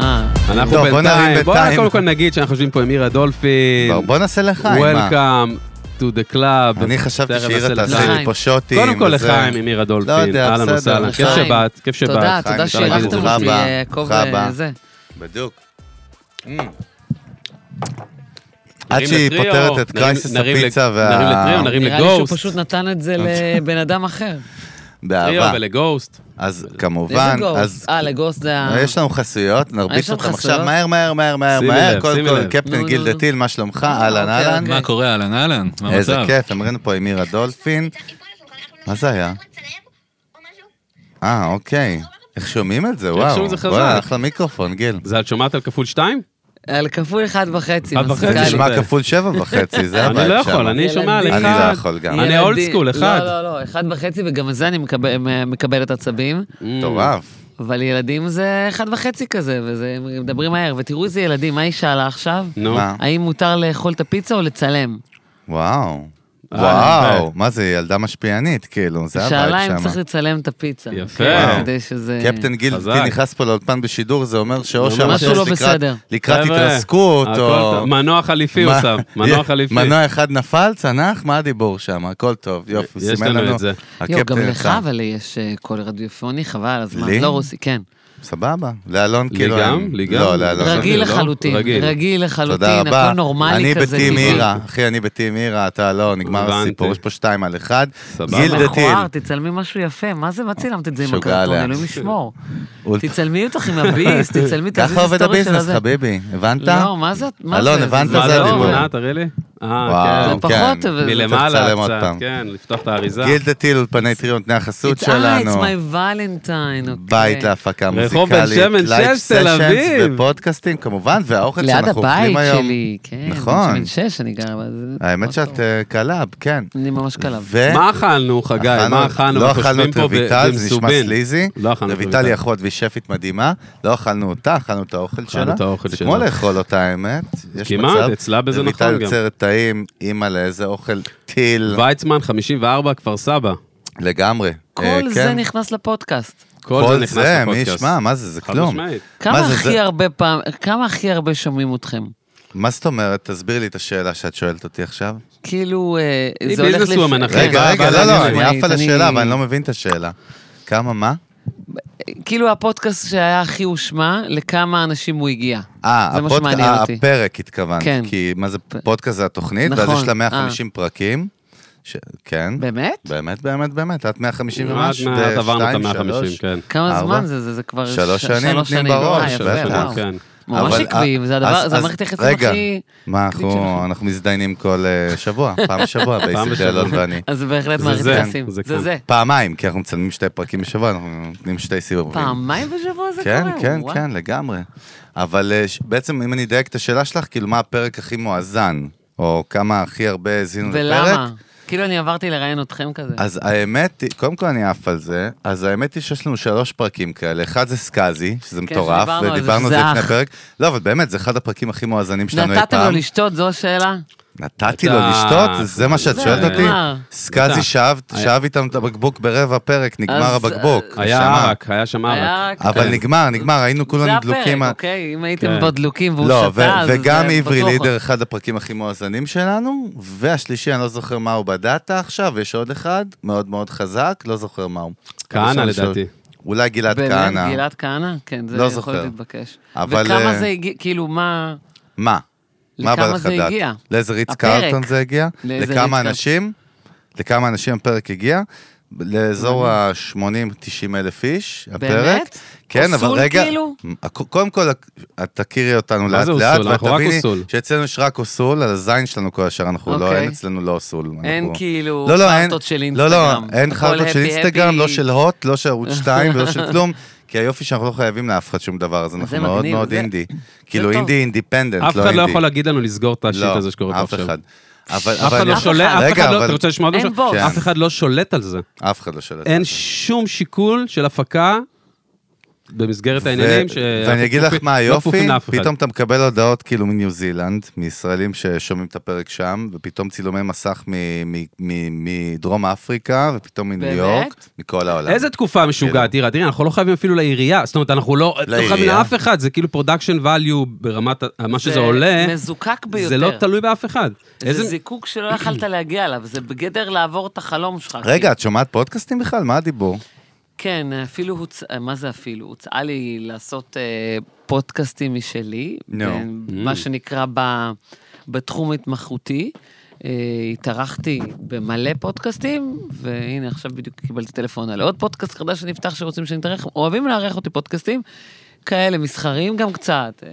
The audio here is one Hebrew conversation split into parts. אה, אנחנו טוב, לא, בוא נרים בינתיים, בוא בינתיים. קודם כל נגיד שאנחנו יושבים פה עם עירה דולפין, בוא- בוא נעשה לחיים. מה? Welcome to the club. אני חשבתי תכף שאירה נעשה תעשה לחיים. לי פה שוטים. קודם כל וזה. לחיים עם עירה דולפין, לא יודע, אהלן בסדר, וסהלן, כיף לחיים. שבאת, כיף שבאת. תודה, חיים, תודה אפשר להגיד את זה. שאירחתם אותי, תודה רבה, יעקב תודה רבה. אה, זה. בדיוק. עד Mm. נרים שהיא לטריו, פותרת את נרים- קרייסס נרים לג- הפיצה וה... נרים לטריו, נרים נראה לי שהוא לגוסט. פשוט נתן את זה לבן אדם אחר. טריו באהבה. ולגוסט. אז לאיזה כמובן, אז גוסט? אה, לגוסט זה ה... יש לנו חסויות, נרביץ יש לנו אותם עכשיו חסויות? מהר, מהר, מהר, מהר, שימי מהר. לב, קודם שימי כל, לב. קפטן נו, גיל נו, נו. דתיל, מה שלומך? אהלן, אוקיי, אהלן. אוקיי. מה קורה, אהלן אהלן? מה איזה המצב? כיף, המראינו פה עם עירה דולפין. מה זה היה? אה, אוקיי. איך שומעים את זה, וואו. שומעים זה חזק. וואלה, אחלה מיקרופון, גיל. זה את שומעת על כפול שתיים? על כפול אחד וחצי. אחד מזכ"ל וחצי, זה לי. נשמע זה. כפול שבע וחצי, זה הבעיה אוקיי. אני לא יכול, אני ילדים. שומע על אחד. אני לא יכול גם. אני אולד ילדים- סקול, אחד. לא, לא, לא, אחד וחצי, וגם על זה אני מקבל- מ- מקבלת עצבים. Mm. מטורף. אבל ילדים זה אחד וחצי כזה, וזה, הם מדברים מהר. ותראו איזה ילדים, מה היא שאלה עכשיו? נו, מה? האם מותר לאכול את הפיצה או לצלם? וואו. אה, וואו, יפה. מה זה, ילדה משפיענית, כאילו, זה שאלה הבית אם צריך שם. לצלם את הפיצה. יפה. כן, כדי שזה... קפטן גיל חזק. דתי נכנס פה לאולפן בשידור, זה אומר שאו משהו שהמטוס לא לקראת- בסדר. לקראת חבר'ה, התרסקות, הכל או... טוב. מנוע חליפי הוא מה- שם, מנוע חליפי. מנוע אחד נפל, צנח, מה הדיבור שם? הכל טוב, יופי, יש סימן לנו לנו. את זה. יו, גם הקפטן לך, איתך. אבל יש אה, קול רדיופוני, חבל לי? הזמן. לא רוסי, כן. סבבה, לאלון לי כאילו... גם? אין- לי גם? לא, לאלון. לא, רגיל לא, לא. לחלוטין, רגיל. רגיל תודה לחלוטין, רבה. הכל נורמלי כזה. אני בטים טבעי. אירה, אחי, אני בטים אירה, אתה לא, נגמר הבנתי. הסיפור, יש פה שתיים על אחד. סבבה. גיל דתיל, מכוער, תצלמי משהו יפה, מה זה, מה צילמת את זה עם שוגע הקרטון, עליה. אלוהים ישמור. אולט- תצלמי אותך עם הביס, תצלמי את ככה עובד הסטורי של הביזנס, הזה. חביבי, הבנת? לא, מה זה, מה זה? אלון, הבנת? מה זה זה לא הדיבור. עובד. התמונה, תראה לי? אה, וואו, זה פחות, כן. אבל- זה- מלמעלה תצלם עוד קצת, פעם. כן, לפתוח את האריזה. גיל דתיל, אולפני טריו, נותני החסות אה, it's שלנו. my valentine, אוקיי. בית להפקה רחוב בן מוזיקלית, שמן, לייב שש, תל סשנס אביב. ופודקאסטים כמובן, והאוכל ליד שאנחנו הבית אוכלים היום. שלי, אוקיי. כן. נכון. בן שש אני גר, אבל זה- האמת ממש שאת טוב. אה, קלאב, כן. אני ממש קלב. ו- מה אכלנו, חגי? מה אכלנו? לא אנחנו אה? אכלנו יושבים את פה ב- רויטל, זה נשמע במסובין. סליזי. לא אכלנו את רויטל היא אחות והיא שפית מדהימה. לא אכלנו אותה, אכלנו את האוכל שלה. את האוכל זה שלה. כמו לאכול אותה, האמת. יש כמעט, מצב. אצלה בזה נכון גם. רויטל יוצרת טעים, אימא לאיזה אוכל טיל. ויצמן 54, כפר סבא. לגמרי. אה, כל זה כן. נכנס לפודקאסט. כל נכנס זה, מי לפודקאסט. ישמע, מה זה, זה חד כלום. משמעית. כמה זה, הכי זה- הרבה פעם, כמה הכי הרבה שומעים אתכם? מה זאת אומרת? תסביר לי את השאלה שאת שואלת אותי עכשיו. כאילו, אה, היא זה הולך... ביזנסומן, לפי- אחי. כן, רגע, בא- בא רגע, לא, לא, לעניין. אני עף על אני- השאלה, אבל אני לא מבין את השאלה. כמה, מה? כאילו הפודקאסט שהיה הכי הושמע, לכמה אנשים הוא הגיע. אה, זה מה הפודק- שמעניין אה, אותי. הפרק התכוונת, כן. כי מה זה, פודקאסט זה התוכנית, ואז נכון, יש לה אה. 150 פרקים. ש- כן, באמת? באמת, באמת, באמת, את 150 מעט ומשהו, מעט עברנו לא, את שתיים, ה-150, שלוש. כן. כמה ארבע. זמן זה? זה- זה כבר שלוש ש- שנים שלוש נותנים שנים. בראש, אה, יפה, שלוש שנים, וואו. כן. ממש אבל- עקביים, זה הדבר- אז- זה אז- המערכת היחסים רגע, הכי- מה, עקבית אנחנו- שלנו. אנחנו מזדיינים כל אה, שבוע, פעם בשבוע, בעצם, בשבוע. אלון ואני. אז זה בהחלט זה מערכת זה, יחסים. זה זה כן. זה. פעמיים, כי אנחנו מצלמים שתי פרקים בשבוע, אנחנו נותנים שתי סיבובים. פעמיים בשבוע זה כן, קורה? כן, וואו. כן, לגמרי. אבל אה, ש- בעצם, אם אני אדייק את השאלה שלך, כאילו, מה הפרק הכי מואזן, או כמה הכי הרבה האזינו לפרק? ולמה? כאילו אני עברתי לראיין אתכם כזה. אז האמת היא, קודם כל אני עף על זה, אז האמת היא שיש לנו שלוש פרקים כאלה, אחד זה סקאזי, שזה מטורף, כן, שדיברנו על זה, ודיברנו על זה שזה לפני אח. פרק, לא, אבל באמת, זה אחד הפרקים הכי מואזנים שלנו אי נתתם לו פעם. לשתות, זו השאלה? נתתי לו אתה- לשתות? זה מה שאת זה שואלת אותי? נגמר. סקאזי אתה- שאב שאב איתם את הבקבוק ברבע פרק, נגמר אז- אה, הבקבוק. היה נשמה. ערק, היה שם היה- ערק. אבל כן. נגמר, נגמר, היינו זה כולנו דלוקים. הפרק, על- אוקיי? אם הייתם כן. פה דלוקים והוא לא, ו- שתה, אז וגם זה עברי בטוח. לידר, אחד הפרקים הכי מואזנים שלנו, והשלישי, אני לא זוכר מה הוא בדאטה עכשיו, יש עוד אחד, מאוד מאוד חזק, לא זוכר מה הוא. כהנא יש לנו לדעתי. של- אולי גלעד באמת, כהנא. גלעד כהנא? כן, זה לא יכול זוכר. להיות להתבקש. אבל, אה, וכמה זה הגיע, כאילו מה... מה? מה לכמה בא לך זה לדעת? הגיע? לאיזה ריץ הפרק. קרלטון זה הגיע? לאיזה ריץ לכמה קרלטון? אנשים? לכמה אנשים הפרק הגיע? לאזור ה-80-90 אלף איש, הפרק. באמת? כן, אבל אוסול רגע... כאילו? הכ- קודם כל, את תכירי אותנו מה לאט זה לאט, אוסול? ואת אנחנו רק תביני אוסול. שאצלנו יש רק אוסול, על הזין שלנו כל השאר אנחנו לא, אוקיי. אין אצלנו לא אוסול. אין אנחנו- כאילו לא, לא, אין, חרטות של לא, אינסטגרם. לא, אין הכל חרטות של happy, אינסטגרם, happy. לא של הוט, לא של ערוץ 2 ולא של כלום, כי היופי שאנחנו לא חייבים לאף אחד שום דבר, אז אנחנו מאוד מגניב, מאוד זה- אינדי. כאילו טוב. אינדי אינדיפנדנט, לא אף אינדי. אחד לא יכול להגיד לנו לסגור את השיט לא, הזה שקורה פה אף עכשיו. אחד. אבל, אף אחד אבל לא יש- שולט, אף רגע, אחד לא, אבל- אתה רוצה לשמוע עוד אין משהו? בוס. כן. אף אחד לא שולט על זה. אף אחד לא שולט. אין שום שיקול של הפקה במסגרת העניינים, ו- שאנחנו ואני אגיד לך כפופים- מה לא היופי, כפופים לאף אחד. פתאום אתה מקבל הודעות כאילו מניו זילנד, מישראלים ששומעים את הפרק שם, ופתאום צילומי מסך מ- מ- מ- מדרום אפריקה, ופתאום מניו באמת? יורק, מכל העולם. איזה תקופה משוגעת, תראה, תראה, אנחנו לא חייבים אפילו לעירייה, זאת אומרת, אנחנו לא לא כאילו. לעירייה. חייבים לאף אחד, זה כאילו פרודקשן value ברמת ה- מה שזה עולה, מזוקק ביותר. זה לא תלוי באף אחד. איזה... איזה- זה זיקוק שלא יכלת להגיע אליו, זה בגדר לעבור את החלום שלך. רגע, את שומעת פודקאסטים בכלל? מה הדיבור? כן, אפילו הוצעה, מה זה אפילו? הוצעה לי לעשות אה, פודקאסטים משלי, נו. Mm. בין- מה שנקרא ב, בתחום התמחותי. אה, התארחתי במלא פודקאסטים, והנה עכשיו בדיוק קיבלתי טלפון על עוד פודקאסט חדש שנפתח שרוצים שנתארח, אוהבים לארח אותי פודקאסטים. כאלה מסחריים גם קצת, אה,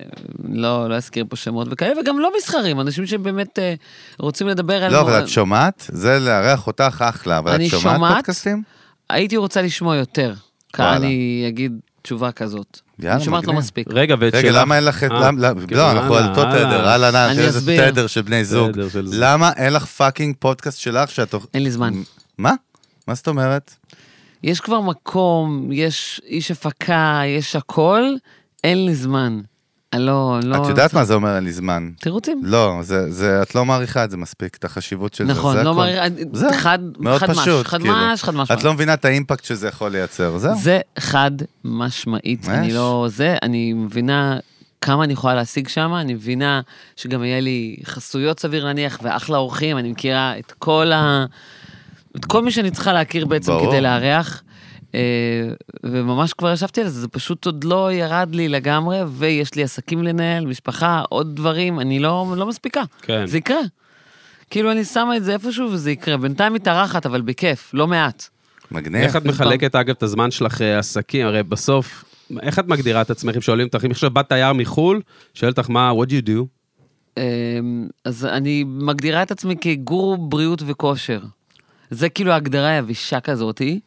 לא, לא אזכיר פה שמות וכאלה, וגם לא מסחריים, אנשים שבאמת אה, רוצים לדבר על... לא, אבל את שומעת? זה לארח אותך אחלה, אבל אני את שומעת שומעת. פודקאסטים? הייתי רוצה לשמוע יותר. כאן וואלה. אני אגיד תשובה כזאת. יאללה, אני שומעת לא מגניב. מספיק. רגע, ואת רגע, שלך- למה אין לך... את- אה, למ- למ- כן, לא, אנחנו על הלאה, אותו תדר, הלאה. הלאה, נא, אני תראה איזה אסביר. תדר של בני זוג. תדר של זוג. למה אין לך פאקינג פודקאסט שלך שאת... אוכ- אין לי זמן. מה? מה זאת אומרת? יש כבר מקום, יש איש הפקה, יש הכל, אין לי זמן. אני לא, אני לא... את יודעת מה זה אומר אין לי זמן. תירוצים. לא, זה, זה, את לא מעריכה את זה מספיק, את החשיבות של זה. נכון, זה לא הכל. מעריכה- זהו, חד- מאוד חד מש, פשוט, חד כאילו. מש, חד משמעית. את לא מבינה את האימפקט שזה יכול לייצר, זהו. זה חד משמעית, ממש. אני לא זה, אני מבינה כמה אני יכולה להשיג שם, אני מבינה שגם יהיה לי חסויות סביר להניח, ואחלה אורחים, אני מכירה את כל ה... את כל מי שאני צריכה להכיר בעצם ברור. כדי לארח. אה, וממש כבר ישבתי על זה, זה פשוט עוד לא ירד לי לגמרי, ויש לי עסקים לנהל, משפחה, עוד דברים, אני לא, לא מספיקה. כן. זה יקרה. כאילו אני שמה את זה איפשהו וזה יקרה. בינתיים מתארחת, אבל בכיף, לא מעט. מגניב. איך את מחלקת, אגב, את הזמן שלך אה, עסקים? הרי בסוף, איך את מגדירה את עצמך אם שואלים אותך, אם עכשיו באת תייר מחו"ל, שואל אותך מה, what do you do? אמ, אז אני מגדירה את עצמי כגורו בריאות וכושר. זה כאילו ההגדרה היבשה כזאתי.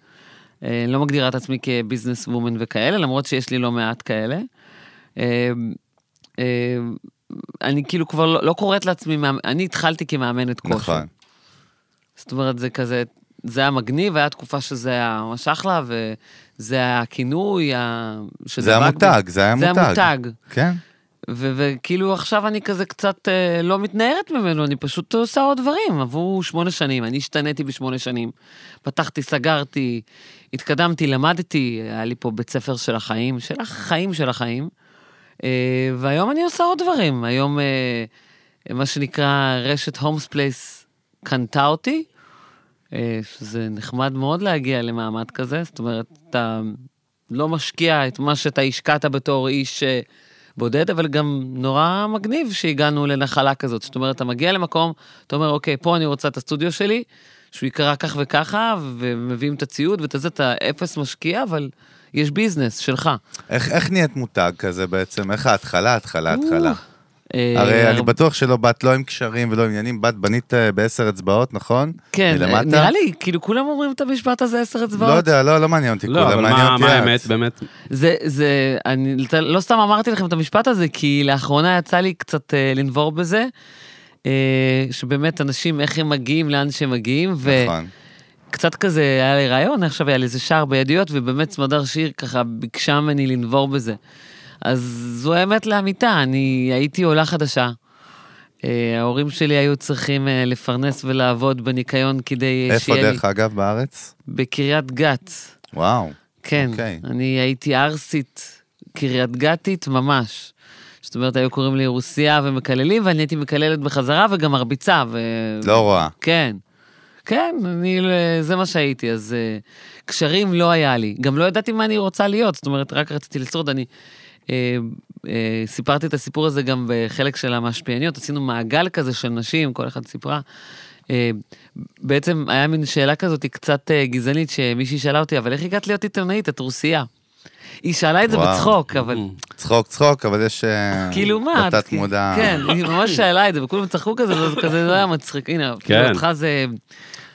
אה, לא מגדירה את עצמי כביזנס וומן וכאלה, למרות שיש לי לא מעט כאלה. אמ, אמ, אני כאילו כבר לא, לא קוראת לעצמי, מאמ- אני התחלתי כמאמנת כושר. נכון. זאת אומרת, זה כזה, זה היה מגניב, היה תקופה שזה היה ממש אחלה, וזה היה הכינוי, ה- שזה זה רק ב- המותג, זה היה זה מותג. המותג. כן. ו- וכאילו עכשיו אני כזה קצת אה, לא מתנערת ממנו, אני פשוט עושה עוד דברים. עברו שמונה שנים, אני השתניתי בשמונה שנים. פתחתי, סגרתי, התקדמתי, למדתי, היה לי פה בית ספר של החיים, של החיים של החיים. אה, והיום אני עושה עוד דברים. היום, אה, מה שנקרא, רשת הומס פלייס קנתה אותי, אה, שזה נחמד מאוד להגיע למעמד כזה, זאת אומרת, אתה לא משקיע את מה שאתה השקעת בתור איש אה, בודד, אבל גם נורא מגניב שהגענו לנחלה כזאת. זאת אומרת, אתה מגיע למקום, אתה אומר, אוקיי, פה אני רוצה את הסטודיו שלי, שהוא יקרא כך וככה, ומביאים את הציוד ואת זה, אתה אפס משקיע, אבל יש ביזנס שלך. איך, איך נהיית מותג כזה בעצם? איך ההתחלה, התחלה, התחלה? אה, הרי אני הרבה- בטוח שלא באת לא עם קשרים ולא עם עניינים, באת בנית אה, בעשר אצבעות, נכון? כן, מלמטה? נראה לי, כאילו, כולם אומרים את המשפט הזה עשר לא אצבעות. יודע, לא, לא מעניין אותי לא, כולם, אבל מעניין מה אותי מה את. האמת, באמת? זה, זה, אני לת- לא סתם אמרתי לכם את המשפט הזה, כי לאחרונה יצא לי קצת אה, לנבור בזה, אה, שבאמת אנשים, איך הם מגיעים, לאן שהם מגיעים, נכון. וקצת כזה היה לי רעיון, עכשיו היה לי איזה שער בידיעות, ובאמת סמדר שיר ככה ביקשה ממני לנבור בזה. אז זו האמת לאמיתה, אני הייתי עולה חדשה. אה, ההורים שלי היו צריכים אה, לפרנס ולעבוד בניקיון כדי אה, איפה, שיהיה לי דרך אגב, בארץ? בקריית גת. וואו. כן, אוקיי. אני הייתי ערסית, קריית גתית ממש. זאת אומרת, היו קוראים לי רוסיה ומקללים, ואני הייתי מקללת בחזרה וגם מרביצה. ו... לא רואה. כן. כן, אני, ל- זה מה שהייתי, אז אה, קשרים לא היה לי. גם לא ידעתי מה אני רוצה להיות, זאת אומרת, רק רציתי לשרוד. אני אה, אה, סיפרתי את הסיפור הזה גם בחלק של המשפיעניות, עשינו מעגל כזה של נשים, כל אחד סיפרה. אה, בעצם היה מין שאלה כזאת קצת אה, גזענית, שמישהי שאלה אותי, אבל איך הגעת להיות עיתונאית? את רוסייה. היא שאלה את זה וואו. בצחוק, אבל... צחוק, צחוק, אבל יש... אה, כאילו מה, בתת כי- מודע. כן, היא ממש שאלה את זה, וכולם צחקו כזה, וזה כזה לא היה מצחיק, הנה, אפילו כן. אותך זה,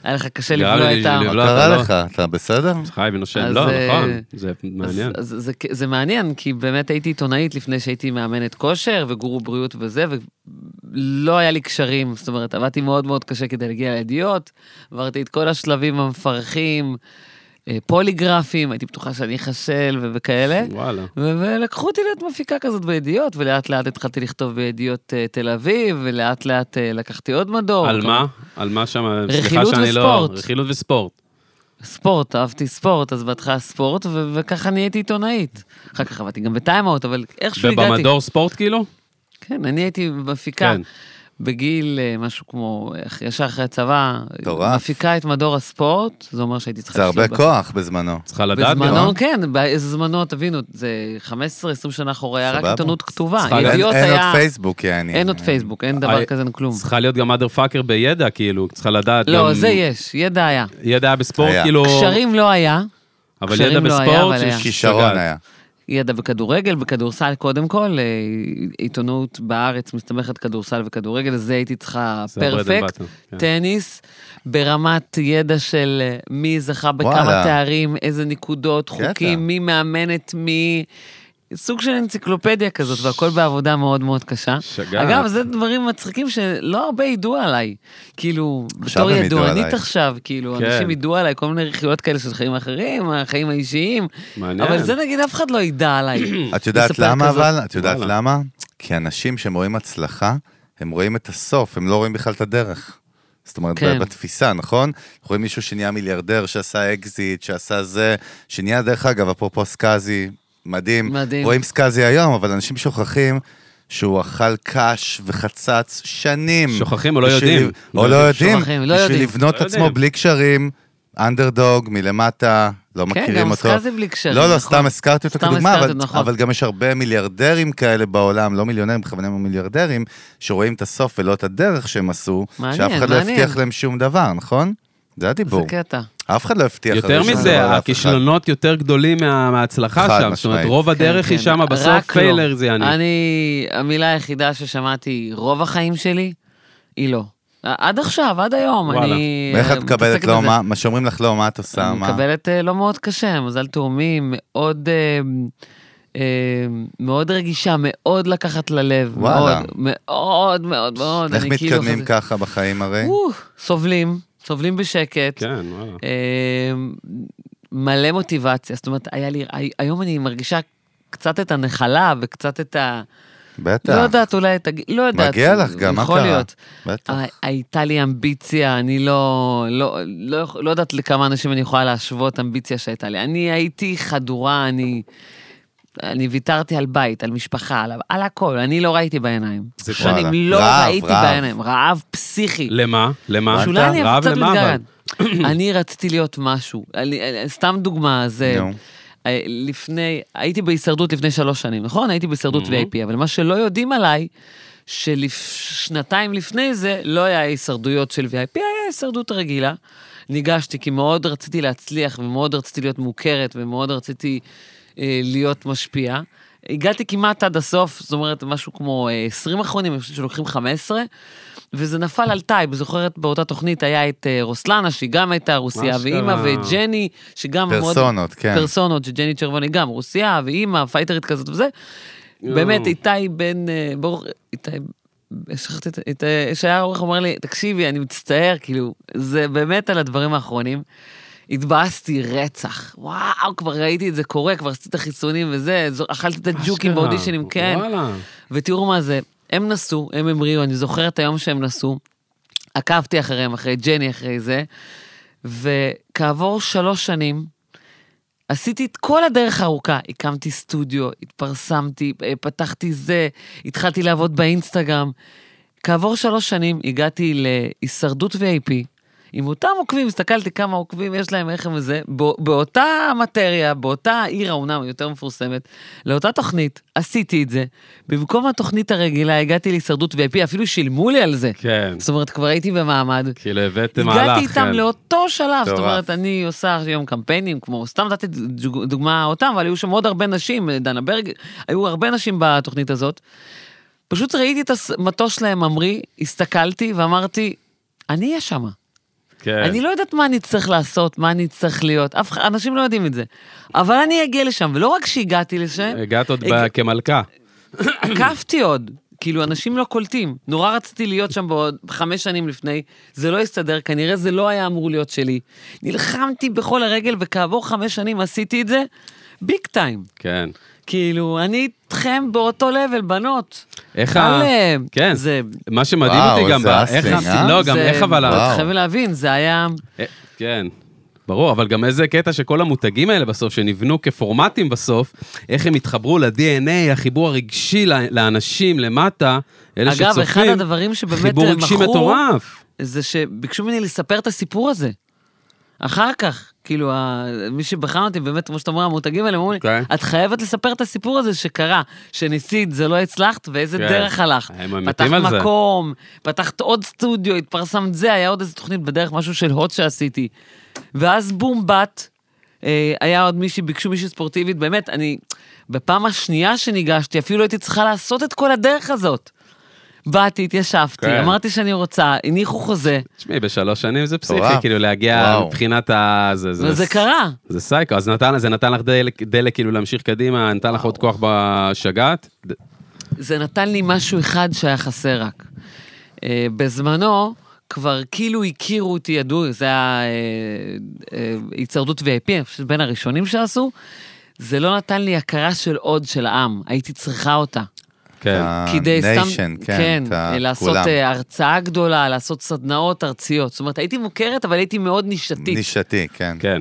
היה לך קשה גרם לבלוע לי את ה... מה לבלוע. לא, קרה אתה לא- לך? אתה בסדר? חי ונושם, אז, לא, אה, נכון, זה אז- מעניין. אז זה- זה מעניין, כי באמת הייתי עיתונאית לפני שהייתי מאמנת כושר וגורו בריאות וזה, ולא היה לי קשרים, זאת אומרת, עבדתי מאוד מאוד קשה כדי להגיע לידיעות, עברתי את כל השלבים המפרכים. אה, פוליגרפים, הייתי בטוחה שאני אחשל וכאלה. וואלה. ו- ולקחו אותי להיות מפיקה כזאת בידיעות, ולאט לאט התחלתי לכתוב בידיעות אה, תל אביב, ולאט לאט אה, לקחתי עוד מדור. על מה? על מה שם? אה? רכילות וספורט. לא- רכילות וספורט. ספורט, אהבתי ספורט, אז בהתחלה ספורט, ו- וככה נהייתי עיתונאית. אחר כך עבדתי גם בטיימאוט, אבל איכשהו הגעתי... ובמדור ספורט כאילו? כן, אני הייתי מפיקה כן. כן. בגיל אה, משהו כמו, אה, ישר אחרי הצבא, מטורף. מפיקה את מדור הספורט, זה אומר שהייתי צריכה... זה הרבה לשלוט ב- כוח בזמנו. צריכה לדעת. בזמנו, גם. כן, באיזה זמנו, תבינו, זה 15-20 שנה אחורה, היה רק סבבה. עיתונות כתובה. צריכה- אין אין אה, ידיעות עוד היה... פייסבוק, יעני. אין עוד פייסבוק, אין דבר אה, כזה, אין כלום. צריכה להיות גם mother fucker בידע, כאילו, צריכה לדעת. לא, גם- זה יש, ידע היה. ידע היה בספורט, היה. כאילו... קשרים לא היה, אבל קשרים ידע לא היה, בספורט, אבל היה. כישרון היה. ידע בכדורגל, בכדורסל קודם כל, אה, עיתונות בארץ מסתמכת כדורסל וכדורגל, זה הייתי צריכה זה הברד אנד פרפקט, באטר, כן. טניס, ברמת ידע של אה, מי זכה בכמה וואלה. תארים, איזה נקודות, קטע. חוקים, מי מאמנת, מי... סוג של אנציקלופדיה כזאת, והכל בעבודה מאוד מאוד קשה. שגעת. אגב, זה דברים מצחיקים שלא הרבה ידעו עליי. כאילו, עכשיו בתור הם ידעו ידוענית עלייך. עכשיו, כאילו, כן. אנשים ידעו עליי כל מיני רכילות כאלה של חיים אחרים, החיים האישיים. מעניין. אבל זה נגיד אף אחד לא ידע עליי. את יודעת לספר למה כזאת. אבל? את יודעת וואלה. למה? כי אנשים שהם רואים הצלחה, הם רואים את הסוף, הם לא רואים בכלל את הדרך. זאת אומרת, כן. כן. בתפיסה, נכון? אנחנו רואים מישהו שנהיה מיליארדר, שעשה אקזיט, שעשה זה, שנהיה, דרך אגב, אפרופו סקאזי, מדהים. מדהים. רואים סקאזי היום, אבל אנשים שוכחים שהוא אכל קש וחצץ שנים. שוכחים או לא בשביל- יודעים. או לא יודעים. שוכחים, לא בשביל יודעים. לבנות לא עצמו יודעים. בלי קשרים, אנדרדוג, מלמטה, לא כן, מכירים גם אותו. סקאזי בלי קשרים, לא, לא, נכון. סתם הזכרתי אותו סתם כדוגמה, הזכרת, אבל- נכון. אבל גם יש הרבה מיליארדרים כאלה בעולם, לא מיליונרים, בכוונה הם מיליארדרים, שרואים את הסוף ולא את הדרך שהם עשו, מעניין, שאף אחד לא מעניין. הבטיח להם שום דבר, נכון? זה זה כן. הדיבור. קטע. אף אחד לא הבטיח יותר הרי שום מזה, דבר לאף אחד. הכישלונות יותר גדולים מה- מההצלחה חד שם. זאת אומרת, משמעית. רוב הדרך כן, היא כן. שמה, בסוף רק לא. פיילר זה יעני. אני, המילה היחידה ששמעתי רוב החיים שלי, היא לא. עד עכשיו, עד היום, וואלה. אני... ואיך אה, את מקבלת מתעסקת לא בזה. מה, מה שאומרים לך לא מה את עושה, אני מה? מקבלת אה, לא מאוד קשה, מזל תאומי, מאוד... אה, אה, מאוד רגישה, מאוד לקחת ללב, וואלה. מאוד, מאוד, מאוד, מאוד, איך אני כאילו מתקדמים חזק- ככה בחיים הרי? וואו, סובלים, סובלים בשקט, כן, וואלה. אמ, מלא מוטיבציה, זאת אומרת, היה לי, הי- היום אני מרגישה קצת את הנחלה וקצת את ה... בטח. לא יודעת, אולי את הגיל, לא יודעת. מגיע לך גם, מה יכול קרה? להיות. בטח. הי- הייתה לי אמביציה, אני לא, לא, לא, יכול- לא יודעת לכמה אנשים אני יכולה להשוות אמביציה שהייתה לי. אני הייתי חדורה, אני, אני ויתרתי על בית, על משפחה, על, על הכל, אני לא ראיתי בעיניים. זה שנים וואלה. לא רעב, ראיתי רעב. בעיניים, רעב פסיכי. למה? למה? שאולי אני רעב קצת למה, אבל? מתגרד. אני רציתי להיות משהו. אני- אני- סתם דוגמה, זה... נו. אה, לפני, הייתי בהישרדות לפני שלוש שנים, נכון? הייתי בהישרדות VIP, אבל מה שלא יודעים עליי, ששנתיים לפני זה לא היה הישרדויות של VIP, היה הישרדות רגילה. ניגשתי כי מאוד רציתי להצליח, ומאוד רציתי להיות מוכרת, ומאוד רציתי אה, להיות משפיעה. הגעתי כמעט עד הסוף, זאת אומרת, משהו כמו אה, 20 אחרונים, אני חושבת שלוקחים 15, וזה נפל על טייב, זוכרת באותה תוכנית היה את אה, רוסלנה, שהיא גם הייתה רוסייה, אשכרה. ואימא, וג'ני, שגם מאוד... פרסונות, כן. פרסונות, שג'ני צ'רבוני גם, רוסיה, ואימא, פייטרית כזאת וזה. יואו. באמת, איתי בן... אה, ברור, איתי... שכחתי את- את... אה, שהיה עורך אומר לי, תקשיבי, אני מצטער, כאילו, זה באמת על הדברים האחרונים. התבאסתי רצח. וואו, כבר ראיתי את זה קורה, כבר עשיתי את החיסונים וזה, זו- אכלתי את הג'וקים אשכרה. באודישנים, כן. וואלה. ותראו מה זה, הם נסעו, הם המריאו, אני זוכרת את היום שהם נסעו. עקבתי אחריהם, אחרי ג'ני, אחרי זה, וכעבור שלוש שנים, עשיתי את כל הדרך הארוכה, הקמתי סטודיו, התפרסמתי, אה, פתחתי זה, התחלתי לעבוד באינסטגרם. כעבור שלוש שנים הגעתי להישרדות VIP, עם אותם עוקבים, הסתכלתי כמה עוקבים יש להם, איך הם וזה, בא- באותה מטריה, באותה עיר האומנם היותר מפורסמת, לאותה תוכנית, עשיתי את זה. במקום התוכנית הרגילה הגעתי להישרדות VIP, אפילו שילמו לי על זה. כן. זאת אומרת, כבר הייתי במעמד. כאילו הבאתם מהלך. הגעתי איתם כן. לאותו שלב, זאת מטורף. אומרת, אני עושה היום קמפיינים, כמו, סתם נתתי דוג- דוגמה אותם, אבל היו שם עוד הרבה נשים, דנה ברג, היו הרבה נשים בתוכנית הזאת. פשוט ראיתי את המטוס שלהם ממריא, הסתכלתי ואמרתי, אני אהיה שמה. כן. אני לא יודעת מה אני צריך לעשות, מה אני צריך להיות, אף אחד, אנשים לא יודעים את זה. אבל לא- אני אגיע לשם, ולא רק שהגעתי לשם, הגעת עוד ב- הג- כמלכה. עקפתי עוד. כאילו, אנשים לא קולטים. נורא רציתי להיות שם בעוד חמש שנים לפני, זה לא הסתדר, כנראה זה לא היה אמור להיות שלי. נלחמתי בכל הרגל, וכעבור חמש שנים עשיתי את זה, ביג טיים. כן. כאילו, אני איתכם באותו לבל, בנות. איך אבל, ה... אה, כן, זה... מה שמדהים וואו, אותי גם, איזה ב- אסלינג, איך ה- אה? לא, גם זה- איך אבל... ה- וואו. אתם חייבים להבין, זה היה... אה, כן. ברור, אבל גם איזה קטע שכל המותגים האלה בסוף, שנבנו כפורמטים בסוף, איך הם התחברו ל-DNA, החיבור הרגשי ל- לאנשים למטה, אלה שצופים, אגב, אחד הדברים שבאמת אה, חיבור רגשי מכרו- מטורף. זה שביקשו ממני לספר את הסיפור הזה. אחר כך, כאילו, ה... מי שבחר אותי, באמת, כמו שאתה אומר, המותגים האלה, אמרו לי, אוקיי. את חייבת לספר את הסיפור הזה שקרה, שניסית, זה לא הצלחת, ואיזה כן. דרך הלכת. הם אמיתיים פתחת על זה. מקום, פתחת עוד סטודיו, התפרסמת זה, היה עוד איזה תוכנית בדרך, משהו של הוט שעשיתי. ואז בום, בת, אה, היה עוד מישהי, ביקשו מישהי ספורטיבית, באמת, אני, בפעם השנייה שניגשתי, אפילו הייתי צריכה לעשות את כל הדרך הזאת. באתי, התיישבתי, כן. אמרתי שאני רוצה, הניחו חוזה, תשמעי, בשלוש שנים זה פסיכי, מטורף. כאילו להגיע וואו. מבחינת ה... זה- זה- וזה קרה. זה סייקו, אז נתן, זה נתן לך דלק, דלק כאילו להמשיך קדימה, נתן לך עוד כוח בשגעת. ד- זה נתן לי משהו אחד שהיה חסר רק. אה, בזמנו כבר כאילו הכירו אותי, ידעו, זה היה אה, אה, היצרדות VIP, אני חושבת בין הראשונים שעשו, זה לא נתן לי הכרה של עוד של העם, הייתי צריכה אותה. כן. אה. כדי סתם, ה-nation, כן, את ה- לעשות כולם. אה, הרצאה גדולה, לעשות סדנאות ארציות. זאת אומרת, הייתי מוכרת, אבל הייתי מאוד נישתית. נישתי, כן. כן.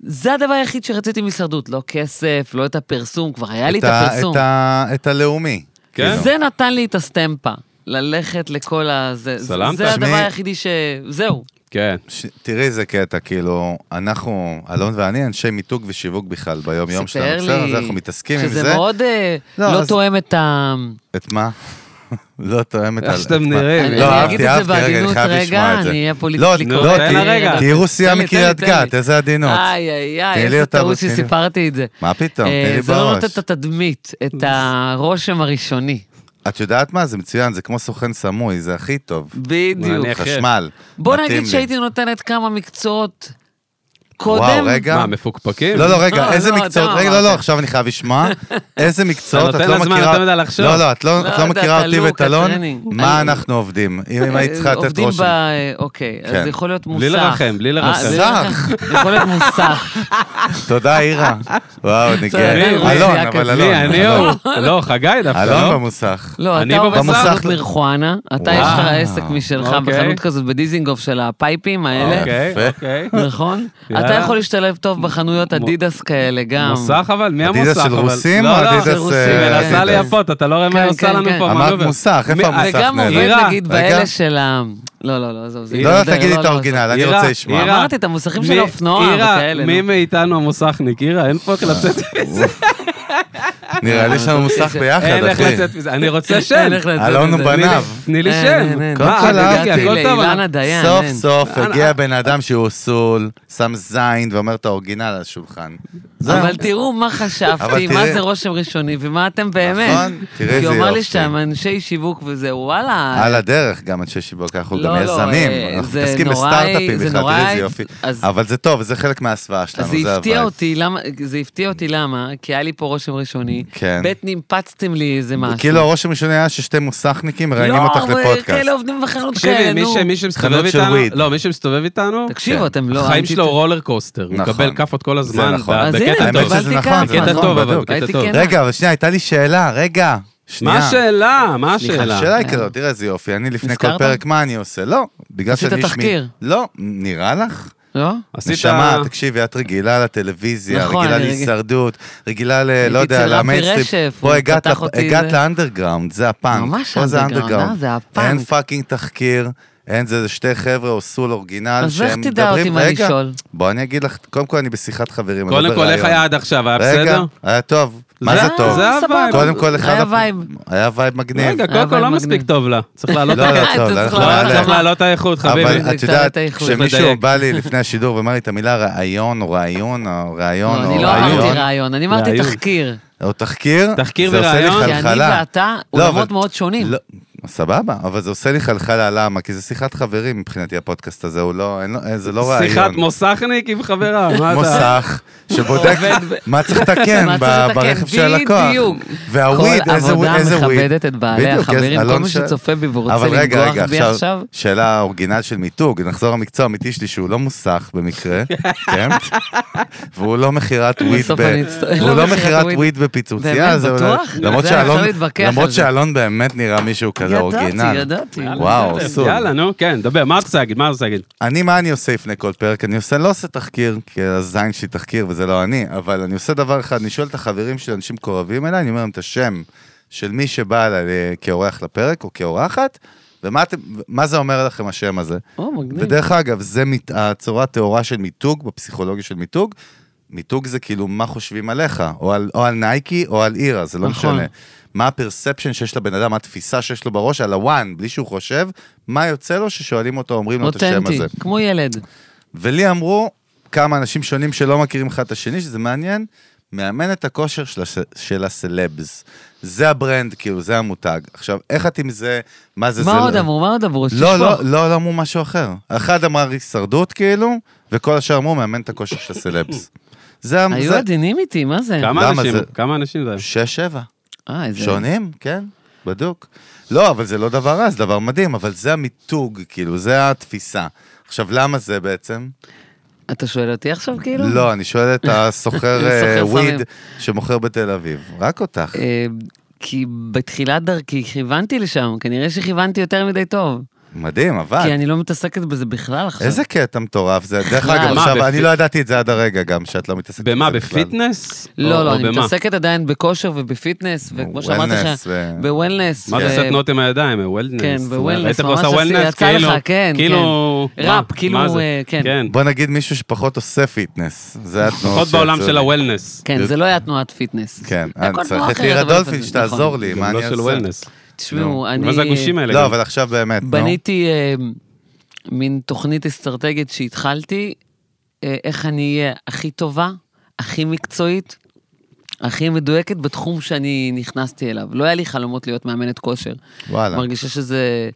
זה הדבר היחיד שרציתי מהישרדות, לא כסף, לא את הפרסום, כבר היה לי את את ה- הפרסום. את ה- את הלאומי. כן. כאילו. זה נתן לי את הסטמפה, ללכת לכל ה... זה, סלמת. זה הדבר תשמעי- היחידי ש... זהו. כן. ש... תראי איזה קטע, כאילו, אנחנו, אלון ואני, אנשי מיתוג ושיווק בכלל ביום-יום שלנו. סיפר בסדר, לי אז אנחנו מתעסקים עם זה. שזה מאוד אה, לא, לא אז- תואם את ה... את מה? לא תואמת על... איך שאתם את מה. נראים. אני- לא, אני אגיד אהבתי, את זה אהבתי, רגע, אני בעדינות, חייב רגע, לשמוע את זה. אני אהיה פוליטיקלי לא, נו, קורקט. תן לה תן לי, רגע. לא, תהיי רוסיה תן לי, מקריית תן לי, תן לי. גת, איזה עדינות. איי, איי, תני איי, לי איזה אותה טעות בציניות. שסיפרתי את זה. מה פתאום, אה, תן לי זה לא בראש. נותן את התדמית, את הרושם הראשוני. את יודעת מה? זה מצוין, זה כמו סוכן סמוי, זה הכי טוב. בדיוק. נניח- חשמל. בוא מתאים נגיד לי. שהייתי נותנת כמה מקצועות קודם. וואו, רגע. מה, מפוקפקים? לא, לא, לא, רגע, איזה לא, מקצועות, אתה רגע, לא, לא, אמרת. עכשיו אני חייב לשמוע. איזה מקצועות, את נותן לא לה זמן, מכירה... נותן לה לחשוב. לא, לא, את לא את לא, לא אתה- מכירה אתה אותי לוק, ואת אלון, הטרנינג. מה אני- אנחנו עובדים? אם אם היית צריכה לתת אה, עובדים רושם. ב... אוקיי, כן. אז יכול להיות מוסך. בלי לרחם, בלי לרחם. אה, לרחם. יכול להיות מוסך. תודה, אירה. וואו, נגיע. בסדר, אלון, רוסיה אבל כזה. אלון. מי, אני אלון. או? לא, חגי דווקא, אלון לא? במוסך. לא, אני אתה במוסך. עובד בסוכנות במוסך. מרחואנה, אתה וואו. יש לך עסק משלך אוקיי. בחנות כזאת בדיזינגוף של הפייפים האלה, אוקיי, יפה. אוקיי. נכון? יאללה. אתה יכול להשתלב טוב בחנויות אדידס כאלה גם. מוסך אבל? מי המוסך? אדידס של אבל? רוסים לא, או לא, אדידס, של רוסים, אה, מנסה אדידס? לייפות, אתה לא רואה מה כן, היא עושה כן, לנו כן. פה אמרת מנובר. מוסך, איפה מי- אה, המוסך וגם נעלם? עובד אירה, נגיד רגע. באלה של ה... לא, לא, לא, עזוב, זה אירה, לא, לא, יותר, תגידי את לא, האורגינל, אני אירה, רוצה לשמוע. אירה, אמרתי את המוסכים של מי- האופנוע וכאלה, אירה, מי נו. מאיתנו המוסכניק? אירה, אין פה איך לצאת מזה. נראה לי אה, שאנחנו מוסך זה- ביחד, אין איך אחי. לצאת מזה. אני רוצה שם. אין איך לצאת אלון מזה. הוא בניו. תני לי אין, שם. אין, אין. קודם מה, כל, אני אהבתי. הגעתי, הכל לי, טוב, אילנה אבל- דיין. סוף אין. סוף אה, הגיע בן אדם שהוא סול, שם זין ואומר את האורגינל על השולחן. זהו. אבל תראו מה אבל חשבתי, תראה- מה זה רושם ראשוני ומה אתם באמת. נכון, תראה איזה כי הוא אמר לי יופי. שם אנשי שיווק וזה, וואלה. על הדרך גם אנשי שיווק, אנחנו אה, לא, גם לא, יזמים, אה, אנחנו זה מתעסקים נורא- בסטארט-אפים זה בכלל, נורא- אה, תראי איזה יופי. אז- אבל זה טוב, זה חלק מההסוואה שלנו, אז זה זה הפתיע הווייב. אותי, למה, זה הפתיע אותי למה, כי היה לי פה רושם ראשוני, כן. בית נימפצתם לי איזה משהו. כאילו הרושם הראשון היה ששתי מוסכניקים מראיינים אותך לא, אבל לפודקאסט. כאלה עובדים בחנות תקשיבי, כאלה, מי נו. ש- מי שמסתובב חנות של איתנו, וויד. לא, מי שמסתובב איתנו, כן. תקשיבו, אתם לא... החיים אל שלו תת- רולר קוסטר, הוא נכון. מקבל כאפות כל זה הזמן, נכון. ב- אז בקטע הנה, האמת טוב. שזה קיבלתי נכון, כאפה. זה בקטע נכון, טוב, אבל בדיוק. בקטע הייתי טוב. כן. רגע, אבל שנייה, הייתה לי שאלה, רגע. מה שנייה. השאלה? מה השאלה? השאלה אה. היא כזאת, תראה איזה יופי, אני לפני כל נזכרת? פרק, מה אני עושה? לא, בגלל עשית שאני... איש מ- תחקיר. לא, נראה לך? לא? עשית- נשמה, תקשיבי, את רגילה לטלוויזיה, נכון, רגילה אני רגיל- להישרדות, רגילה ל... לא יודע, אצל אבי למיינסטרים. רשף, פה הוא הגעת פתח ל- אותי הגעת זה. לאנדרגראונד, זה הפאנק. ממש פה זה אנדרגראונד, האנדרגראונד. אה, זה הפאנק. אין פאקינג תחקיר, אין זה, זה שתי חבר'ה או סול אורגינל אז שהם איך תדע אותי מדברים... מה רגע, לשאול? בוא אני אגיד לך, קודם כל אני בשיחת חברים. אני לא קודם כל, איך בראיון. היה עד עכשיו? היה רגע, בסדר? היה טוב. מה זה טוב? זה הווייב. קודם כל, אחד... היה הפ- וייב. היה וייב מגניב. רגע, היה קודם כל לא וייב מספיק מגניב. טוב לה. צריך לא, לעלות לא, את אתה טוב, לא, צריך אנחנו לעלות. נעלה. צריך לעלות את האיכות, חביבי. אבל את נקטע יודעת, את האיחוד. כשמישהו לדייק. בא לי לפני השידור ואמר לי את המילה ראיון או ראיון או ראיון לא, אני או לא רעיון. אמרתי רעיון, אני אמרתי רעיון. תחקיר. או תחקיר, תחקיר זה עושה לי וראיון? כי אני חלחלה. ואתה לא, עולמות אבל- מאוד שונים. לא, סבבה, אבל זה עושה לי חלחלה, למה? כי זה שיחת חברים מבחינתי, הפודקאסט הזה, הוא לא, אין לו, אה, זה לא רעיון. שיחת מוסכניק עם חברה, מה אתה? מוסך, שבודק עובד מה צריך לתקן מה צריך ב- לתקן, ברכב של הלקוח. בדיוק. והוויד, כל איזה וויד, עבודה איזה וויד. מכבדת את בעלי בדיוק, החברים, אז כל אלון מי ש- שצופה בי ורוצה אבל רגע, לנגוח רגע, בי עכשיו. שאלה אורגינל של מיתוג, נחזור למקצוע האמיתי שלי שהוא לא מוסך במקרה, כן? והוא לא מכירת וויד, בסוף ב- אני אצט- והוא לא לא מכירת מכירת וויד. וויד בפיצוצייה, באמת, זה אולי- בטוח? למרות זה, אפשר שאלון- להתווכח על למרות זה. שאלון באמת נראה מישהו כזה אורגינל. ידעתי, ידעתי. וואו, בסדר, סוג. אה, יאללה, נו, כן, דבר, מה את רוצה להגיד? מה את רוצה להגיד? אני, מה אני עושה לפני כל פרק? אני עושה, לא עושה תחקיר, כי הזין שלי תחקיר וזה לא אני, אבל אני עושה דבר אחד, אני שואל את החברים של אנשים קרובים אליי, אני אומר להם את השם של מי שבא אליי אה, כאורח לפרק או כאורחת, ומה אתם, מה זה אומר לכם השם הזה? או, מגניב. ודרך אגב, זה מת, הצורה הטהורה של מיתוג, בפסיכולוגיה של מיתוג. מיתוג זה כאילו מה חושבים עליך, או על, או על נייקי או על אירה, זה לא נכון. משנה. מה הפרספשן שיש לבן אדם, מה התפיסה שיש לו בראש על הוואן, בלי שהוא חושב, מה יוצא לו ששואלים אותו, אומרים לו לא את השם אותנטי, הזה. כמו ילד. ולי אמרו כמה אנשים שונים שלא מכירים אחד את השני, שזה מעניין, מאמן את הכושר של, הס... של הסלבס. זה הברנד, כאילו, זה המותג. עכשיו, איך את עם זה, מה זה זה? מה עוד לא- אמרו? מה עוד אמרו? לא, שתשפוך. לא, לא, לא אמרו משהו אחר. אחד אמר הישרדות, כאילו, וכל השאר אמרו מאמן את הכושר של הסלבס. זה... ה- היו זה... עדינים איתי, מה זה? כמה למה אנשים? זה? כמה אנשים זה? שש, שבע. אה, איזה... שונים, כן, בדוק. לא, אבל זה לא דבר רע, זה דבר מדהים, אבל זה המיתוג, כאילו, זה התפיסה. עכשיו, למה זה בעצם? אתה שואל אותי עכשיו כאילו? לא, אני שואל את הסוחר סוחר אה, סמים. וויד שמוכר בתל אביב, רק אותך. אה, כי בתחילת דרכי כיוונתי לשם, כנראה שכיוונתי יותר מדי טוב. מדהים, כי אבל. אני לא מתעסקת בזה בכלל עכשיו. אה, איזה קטע מטורף זה. דרך בכלל. אגב, מה, עכשיו, בפי- אני לא ידעתי את זה עד הרגע גם, שאת לא מתעסקת במה, בזה בכלל. בפיטנס? או- לא, או לא, אני במה? מתעסקת עדיין בכושר ובפיטנס, וכמו שאמרתי Wellness לך, ו- בוולנס. מה ו- זה עושה תנועות עם הידיים? וולנס. אה, כן, ב-wellness, היית ממש עושה עשי- וולנס, יצא לך, כאילו... כן, כאילו... כן. מה? ראפ, כאילו, מה זה? אה, כן. בוא נגיד מישהו שפחות עושה פיטנס. זה התנועות פחות בעולם שיצאו של לי. הוולנס. כן, זה לא היה תנועת פיטנס. כן, זה הכל צריך תנועה את לירה אחרת, אבל- דולפין שתעזור נכון. לי, מה גם אני לא אעשה? של וולנס. תשמעו, אני... מה זה הגושים האלה? לא, גם? אבל עכשיו באמת, נו. בניתי אה, מין תוכנית אסטרטגית שהתחלתי, אה, איך אני אהיה הכי טובה, הכי מקצועית, הכי מדויקת בתחום שאני נכנסתי אליו. לא היה לי חלומות להיות מאמנת כושר. וואלה. מרגישה שזה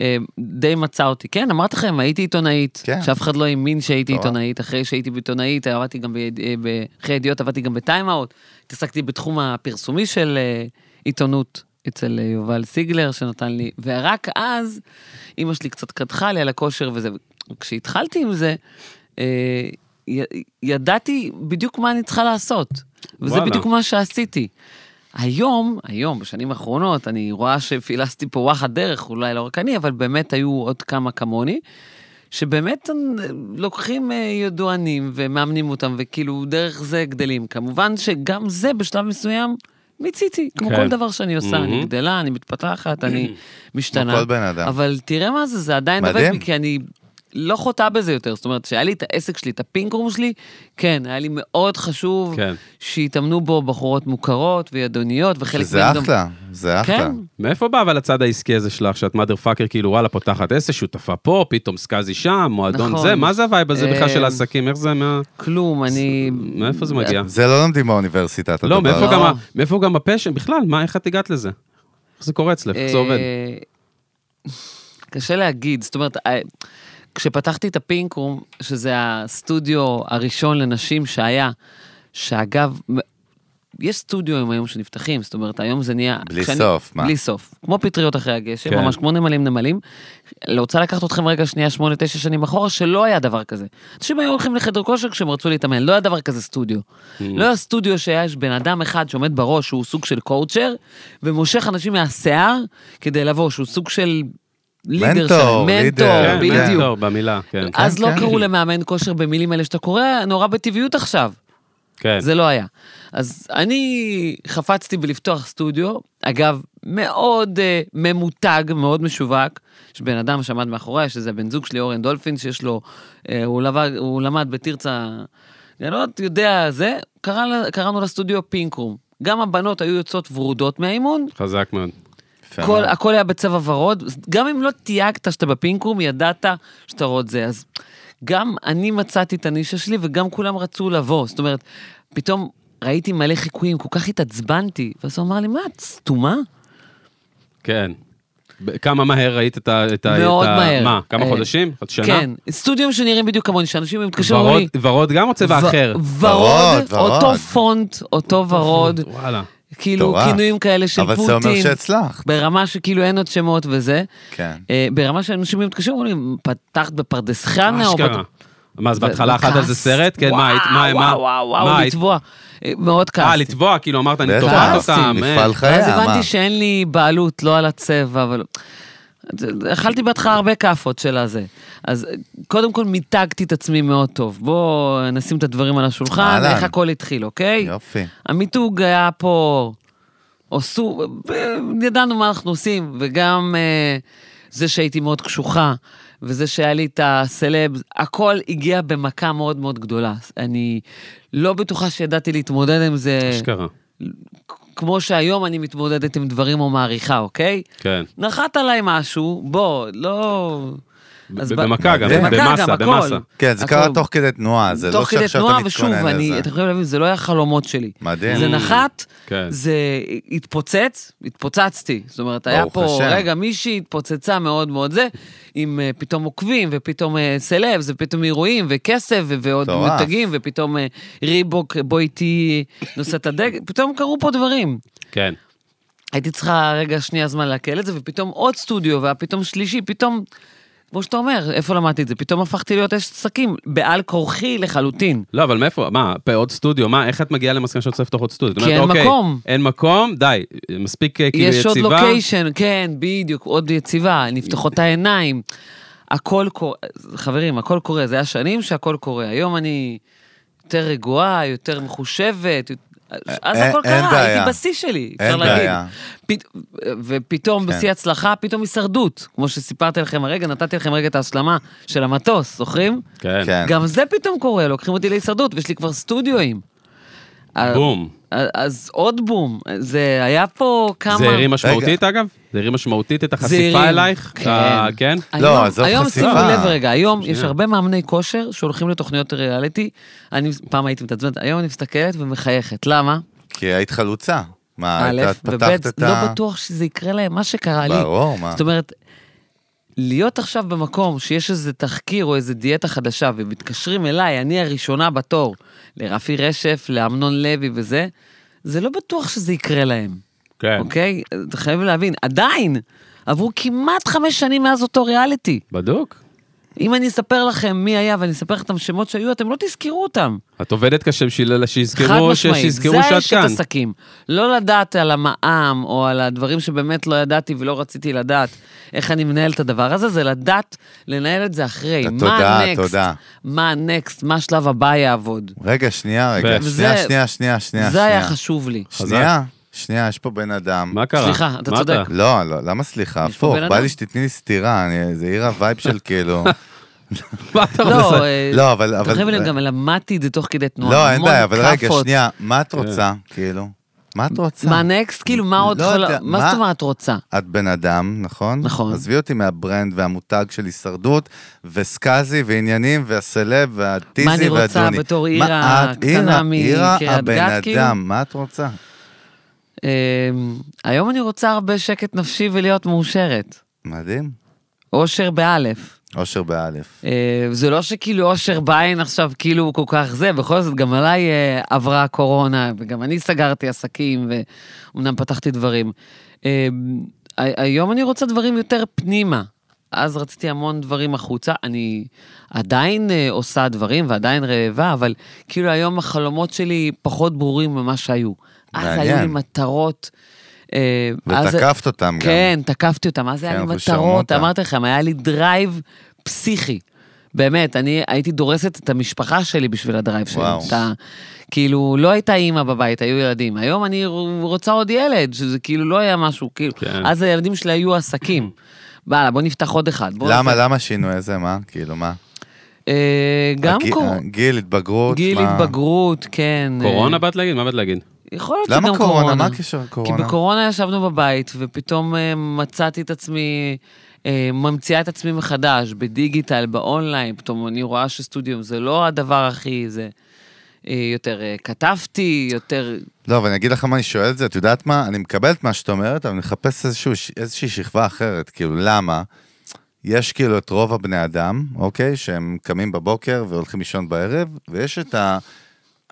אה, די מצא אותי. כן, אמרתי לכם, הייתי עיתונאית, כן. שאף אחד לא האמין שהייתי נורא. עיתונאית. אחרי שהייתי עיתונאית, עבדתי גם, ביד- אה, ב- אחרי ידיעות עבדתי גם בטיים-אאוט. התעסקתי בתחום הפרסומי של אה, עיתונות אצל אה, יובל סיגלר, שנתן לי, ורק אז אימא שלי קצת קדחה לי על הכושר וזה. כשהתחלתי עם זה, אה, י- ידעתי בדיוק מה אני צריכה לעשות, וזה וואלה. בדיוק מה שעשיתי. היום, היום, בשנים האחרונות, אני רואה שפילסתי פה וואחד דרך, אולי לא רק אני, אבל באמת היו עוד כמה כמוני, שבאמת אה, לוקחים אה, ידוענים ומאמנים אותם, וכאילו דרך זה גדלים. כמובן שגם זה בשלב מסוים מיציתי, כמו כן. כל דבר שאני עושה, אני מהמם. גדלה, אני מתפתחת, אני משתנה. כל בן אדם. אבל תראה מה זה, זה עדיין עובד מדהים. לי, כי אני לא חוטאה בזה יותר. זאת אומרת, שהיה לי את העסק שלי, את הפינקרום שלי, כן, היה לי מאוד חשוב כן. שיתאמנו בו בחורות מוכרות וידוניות, וחלק שזה אחלה, זה אחלה. כן, מאיפה בא אבל הצד העסקי הזה שלך, שאת מאדר פאקר, כאילו וואלה, פותחת עסק, שותפה פה, פתאום סקאזי שם, מועדון נכון. זה, מה זה הווייב הזה בכלל של אה, העסקים? איך זה מה... כלום, אני... מאיפה זה מגיע? זה לא לומדים באוניברסיטה, אתה לא, מאיפה לא. גם ה- מאיפה גם הפשן? בכלל, מה, איך את הגעת לזה? איך זה קורה אצלך? איך זה עובד? אה, קשה להגיד, זאת אומרת, אה, כשפתחתי את הפינקרום, שזה הסטודיו הראשון לנשים שהיה, שאגב, מ- יש סטודיו היום שנפתחים, זאת אומרת, היום זה נהיה... בלי סוף, מה? בלי סוף, כמו פטריות אחרי הגשם, כן. ממש כמו נמלים נמלים. אני רוצה לקחת אתכם רגע שנייה, שמונה, תשע שנים אחורה, שלא היה דבר כזה. אנשים היו הולכים לחדר כושר כשהם רצו להתאמן, לא היה דבר כזה סטודיו. Mm. לא היה סטודיו שיש בן אדם אחד שעומד בראש, שהוא סוג של קואוצ'ר, ומושך אנשים מהשיער כדי לבוא, שהוא סוג של לידר מנטור, שלהם. לידר, כן, בדיוק. בדיוק. במילה, כן. אז לא כן. קראו למאמן כושר במילים האלה שאתה קורא נורא בטבעיות עכשיו. כן. זה לא היה. אז אני חפצתי בלפתוח סטודיו, אגב, מאוד uh, ממותג, מאוד משווק. יש בן אדם שעמד מאחוריי, שזה הבן זוג שלי, אורן דולפין, שיש לו, uh, הוא, לבד, הוא למד בתרצה גנות, יודע זה, קרא, לה- קראנו לסטודיו פינקרום. גם הבנות היו יוצאות ורודות מהאימון, חזק מאוד. יפה כל, מאוד. הכל היה בצבע ורוד, גם אם לא תייגת שאתה בפינקרום, ידעת שאתה רוצה. אז גם אני מצאתי את הנישה שלי וגם כולם רצו לבוא. זאת אומרת, פתאום ראיתי מלא חיקויים, כל כך התעצבנתי, ואז הוא אמר לי, מה, את סתומה? כן. ב- כמה מהר ראית את ה... את ה- מאוד את ה- מהר. מה, כמה אה, חודשים? עוד שנה? כן, סטודיו שנראים בדיוק כמוני, שאנשים מתקשרים ואומרים ורוד, לי... ורוד גם או צבע ו- אחר? ורוד, ורוד, ורוד. אותו פונט, אותו ורוד, וואלה. כאילו מטורף. כינויים כאלה של אבל זה אומר פוטין, שהצלחת. ברמה שכאילו אין עוד שמות וזה. כן. אה, ברמה שאנשים מתקשרים ואומרים, פתחת בפרדס חנה? או אשכרה. בת- מה, אז בהתחלה וכעס. אכלת על זה סרט? כן, מה, היית- מה, וואו, מה, וואו, מה, וואו, היית- לתבוע. אה, מאוד אה, כעסתי. לתבוע, כאילו אמרת, אני בטח, תובעת אותם. אה. מפעל ואז חייה, מה? הבנתי שאין לי בעלות, לא על הצבע, אבל... אכלתי בהתחלה הרבה כאפות של הזה. אז אה, קודם כל מיתגתי את עצמי מאוד טוב. בואו נשים את הדברים על השולחן, אהלן. איך הכל התחיל, אוקיי? יופי. המיתוג היה פה, עשו, ידענו מה אנחנו עושים, וגם אה, זה שהייתי מאוד קשוחה, וזה שהיה לי את הסלב, הכל הגיע במכה מאוד מאוד גדולה. אני לא בטוחה שידעתי להתמודד עם זה, כן. אשכרה, כמו שהיום אני מתמודדת עם דברים או מעריכה, אוקיי? כן. נחת עליי משהו, בוא, לא... אז ב- ב- במכה גם, במכה גם, במסה, הכל. במסה. כן, זה הכל. קרה תוך כדי תנועה, זה לא תוך כדי שעכשיו תנועה, אתה ושוב, מתכונן אני, לזה. אתם יכולים להבין, זה לא היה חלומות שלי. מדהים. זה Mm. נחת, כן. זה התפוצץ, התפוצצתי. זאת אומרת, היה ברוך פה השם. רגע מישהי התפוצצה מאוד מאוד זה, עם אה, פתאום עוקבים, ופתאום אה, סלב, ופתאום אירועים, וכסף, ו- ועוד מטורף. מתגים, ופתאום אה, ריבוק, אה, בוא איתי נושאת הדגל, פתאום קרו פה דברים. כן. הייתי צריכה רגע שנייה זמן לעכל את זה, ופתאום עוד סטודיו, והיה פתאום שלישי, פתאום, כמו שאתה אומר, איפה למדתי את זה? פתאום הפכתי להיות אשת עסקים, בעל כורחי לחלוטין. לא, אבל מאיפה, מה, פה, עוד סטודיו, מה, איך את מגיעה למסקנה שאת רוצה לפתוח עוד סטודיו? את כי אומרת, אין אוקיי, מקום. אין מקום, די, מספיק אה, כאילו יש יציבה. עוד לוקיישן, כן, בדיוק, עוד יציבה, נפתחות העיניים. הכל קורה, חברים, הכל קורה, זה היה שנים שהכל קורה. היום אני יותר רגועה, יותר מחושבת, אז אין- הכל אה, אין קרה, בעיה. הייתי בשיא שלי, אפשר אין להגיד. בעיה. פת- ופתאום כן. בשיא הצלחה, פתאום הישרדות. כמו שסיפרתי לכם הרגע, נתתי לכם רגע את ההשלמה של המטוס, זוכרים? כן, כן. גם זה פתאום קורה, לוקחים אותי להישרדות, ויש לי כבר סטודיואים. בום. אז- אז עוד בום, זה היה פה כמה... זה הרים משמעותית, אגב? זה הרים משמעותית את החשיפה הרים. אלייך? כן. אה, כן? לא, היום- עזוב היום חשיפה. שימו לב רגע, היום יש שנייה. הרבה מאמני כושר שהולכים לתוכניות ריאליטי. אני פעם הייתי מתעצבנת, היום אני מסתכלת ומחייכת. למה? כי היית חלוצה. מה, א', את וב', אה, פתחת את לא ה... בטוח שזה יקרה להם, מה שקרה לי. ברור, מה. זאת אומרת, להיות עכשיו במקום שיש איזה תחקיר או איזה דיאטה חדשה, ומתקשרים אליי, אני הראשונה בתור, לרפי רשף, לאמנון לוי וזה, זה לא בטוח שזה יקרה להם, כן, אוקיי? אתה חייב להבין, עדיין, עברו כמעט חמש שנים מאז אותו ריאליטי. בדוק. אם אני אספר לכם מי היה ואני אספר לכם את השמות שהיו, אתם לא תזכרו אותם. את עובדת קשה בשביל חד שיזכרו ש- משמעית, שיזכרו זה שאת האשת כאן. עסקים. לא לדעת על המע"מ, או על הדברים שבאמת לא ידעתי ולא רציתי לדעת, איך אני מנהל את הדבר הזה, זה לדעת לנהל את זה אחרי. תודה, מה הנקסט? תודה. מה הנקסט? מה השלב הבא יעבוד? רגע, שנייה, ו- רגע. שנייה, וזה- שנייה, שנייה, שנייה. זה היה שנייה. חשוב לי. שנייה, שנייה, יש פה בן אדם. מה קרה? סליחה, אתה מה צודק. לא, לא, למה סליחה? יש פה הפוך, בן בא אדם. לי שתתני לי סטירה, אני- זה עיר הווייב של כאילו. מה אתה רוצה? לא, אה, לא, אבל... אבל- תחשבי לי, גם למדתי את זה תוך כדי תנועה. לא, אין המון בעיה, אבל רגע, כאפות. שנייה, מה את אה. רוצה, כאילו? מה את רוצה? מה נקסט? כאילו, מה עוד לא יכול... יודע, מה מה- זאת אומרת רוצה? את בן אדם, נכון? נכון. עזבי אותי מהברנד והמותג של הישרדות, וסקאזי ועניינים, והסלב, והטיזי והדוני. מה אני רוצה בתור מה עירה את? קטנה עירה, מקריית עירה הבן גת, כאילו? אדם, מה את רוצה? אה, היום אני רוצה הרבה שקט נפשי ולהיות מאושרת. מדהים. אושר באלף. אושר באלף. אה, זה לא שכאילו אושר בעין עכשיו כאילו הוא כל כך זה, בכל זאת גם עליי אה, עברה הקורונה, וגם אני סגרתי עסקים, ואומנם פתחתי דברים. אה, ה- היום אני רוצה דברים יותר פנימה. אז רציתי המון דברים החוצה, אני עדיין אה, עושה דברים ועדיין רעבה, אבל כאילו היום החלומות שלי פחות ברורים ממה שהיו. אז מעניין. היו לי מטרות. אה, אז- ותקפת אותם גם. כן, תקפתי אותם, אז היה כן, לי אבל שמעו מטרות, אותם. אמרתי לכם, היה לי דרייב פסיכי. באמת, אני הייתי דורסת את המשפחה שלי בשביל הדרייב שלי. וואו. אתה, כאילו, לא הייתה אימא בבית, היו ילדים. היום אני רוצה עוד ילד, שזה כאילו לא היה משהו, כאילו. כן. אז הילדים שלי היו עסקים. וואלה, בוא נפתח עוד אחד. בוא למה, נעשה- למה שינוי הזה? מה? כאילו, מה? אה, גם הגיל- קור... הגיל, התבגרות, גיל מה? התבגרות, כן. אה, קורונה באת להגיד? מה באת להגיד? יכול להיות שגם למה קורונה. קורונה? מה הקשר לקורונה? כי בקורונה ישבנו בבית, ופתאום אה, מצאתי את עצמי, אה, ממציאה את עצמי מחדש, בדיגיטל, באונליין, פתאום אני רואה שסטודיו זה לא הדבר הכי זה. אה, יותר אה, כתבתי, יותר... לא, אבל אני אגיד לך מה אני שואל את זה, את יודעת מה? אני מקבל את מה שאת אומרת, אבל אני מחפש איזשהו, איזושהי שכבה אחרת, כאילו, למה? יש כאילו את רוב הבני אדם, אוקיי? שהם קמים בבוקר והולכים לישון בערב, ויש את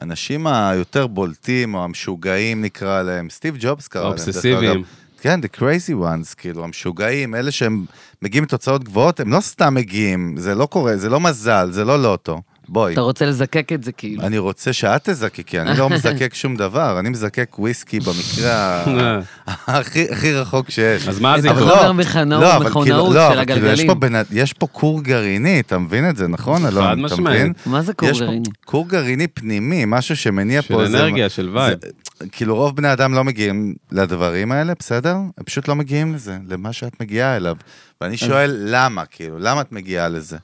האנשים היותר בולטים, או המשוגעים נקרא להם, סטיב ג'ובס קרא להם. דרך האובססיביים. אגב. כן, the crazy ones, כאילו, המשוגעים, אלה שהם מגיעים לתוצאות גבוהות, הם לא סתם מגיעים, זה לא קורה, זה לא מזל, זה לא לוטו. בואי. אתה רוצה לזקק את זה כאילו. אני רוצה שאת תזקקי, אני לא מזקק שום דבר, אני מזקק וויסקי במקרה אה, ה- הכי הכי רחוק שיש. אז מה זה אבל יתרון? לא, חומר מכנאות- לא, אבל כאילו- מכונאות לא, של אבל כאילו, הגלגלים. יש פה בן- יש פה כור גרעיני, אתה מבין את זה, נכון, חד אלון? אתה משמעית. מבין? מה זה קור יש פה גרעיני? כור גרעיני פנימי, משהו שמניע של פה איזה- אנרגיה, של וייב. זה- כאילו רוב בני אדם לא מגיעים לדברים האלה, בסדר? הם פשוט לא מגיעים לזה, למה שאת מגיעה אליו. ואני שואל, למה, כאילו, למה את מגיעה לזה?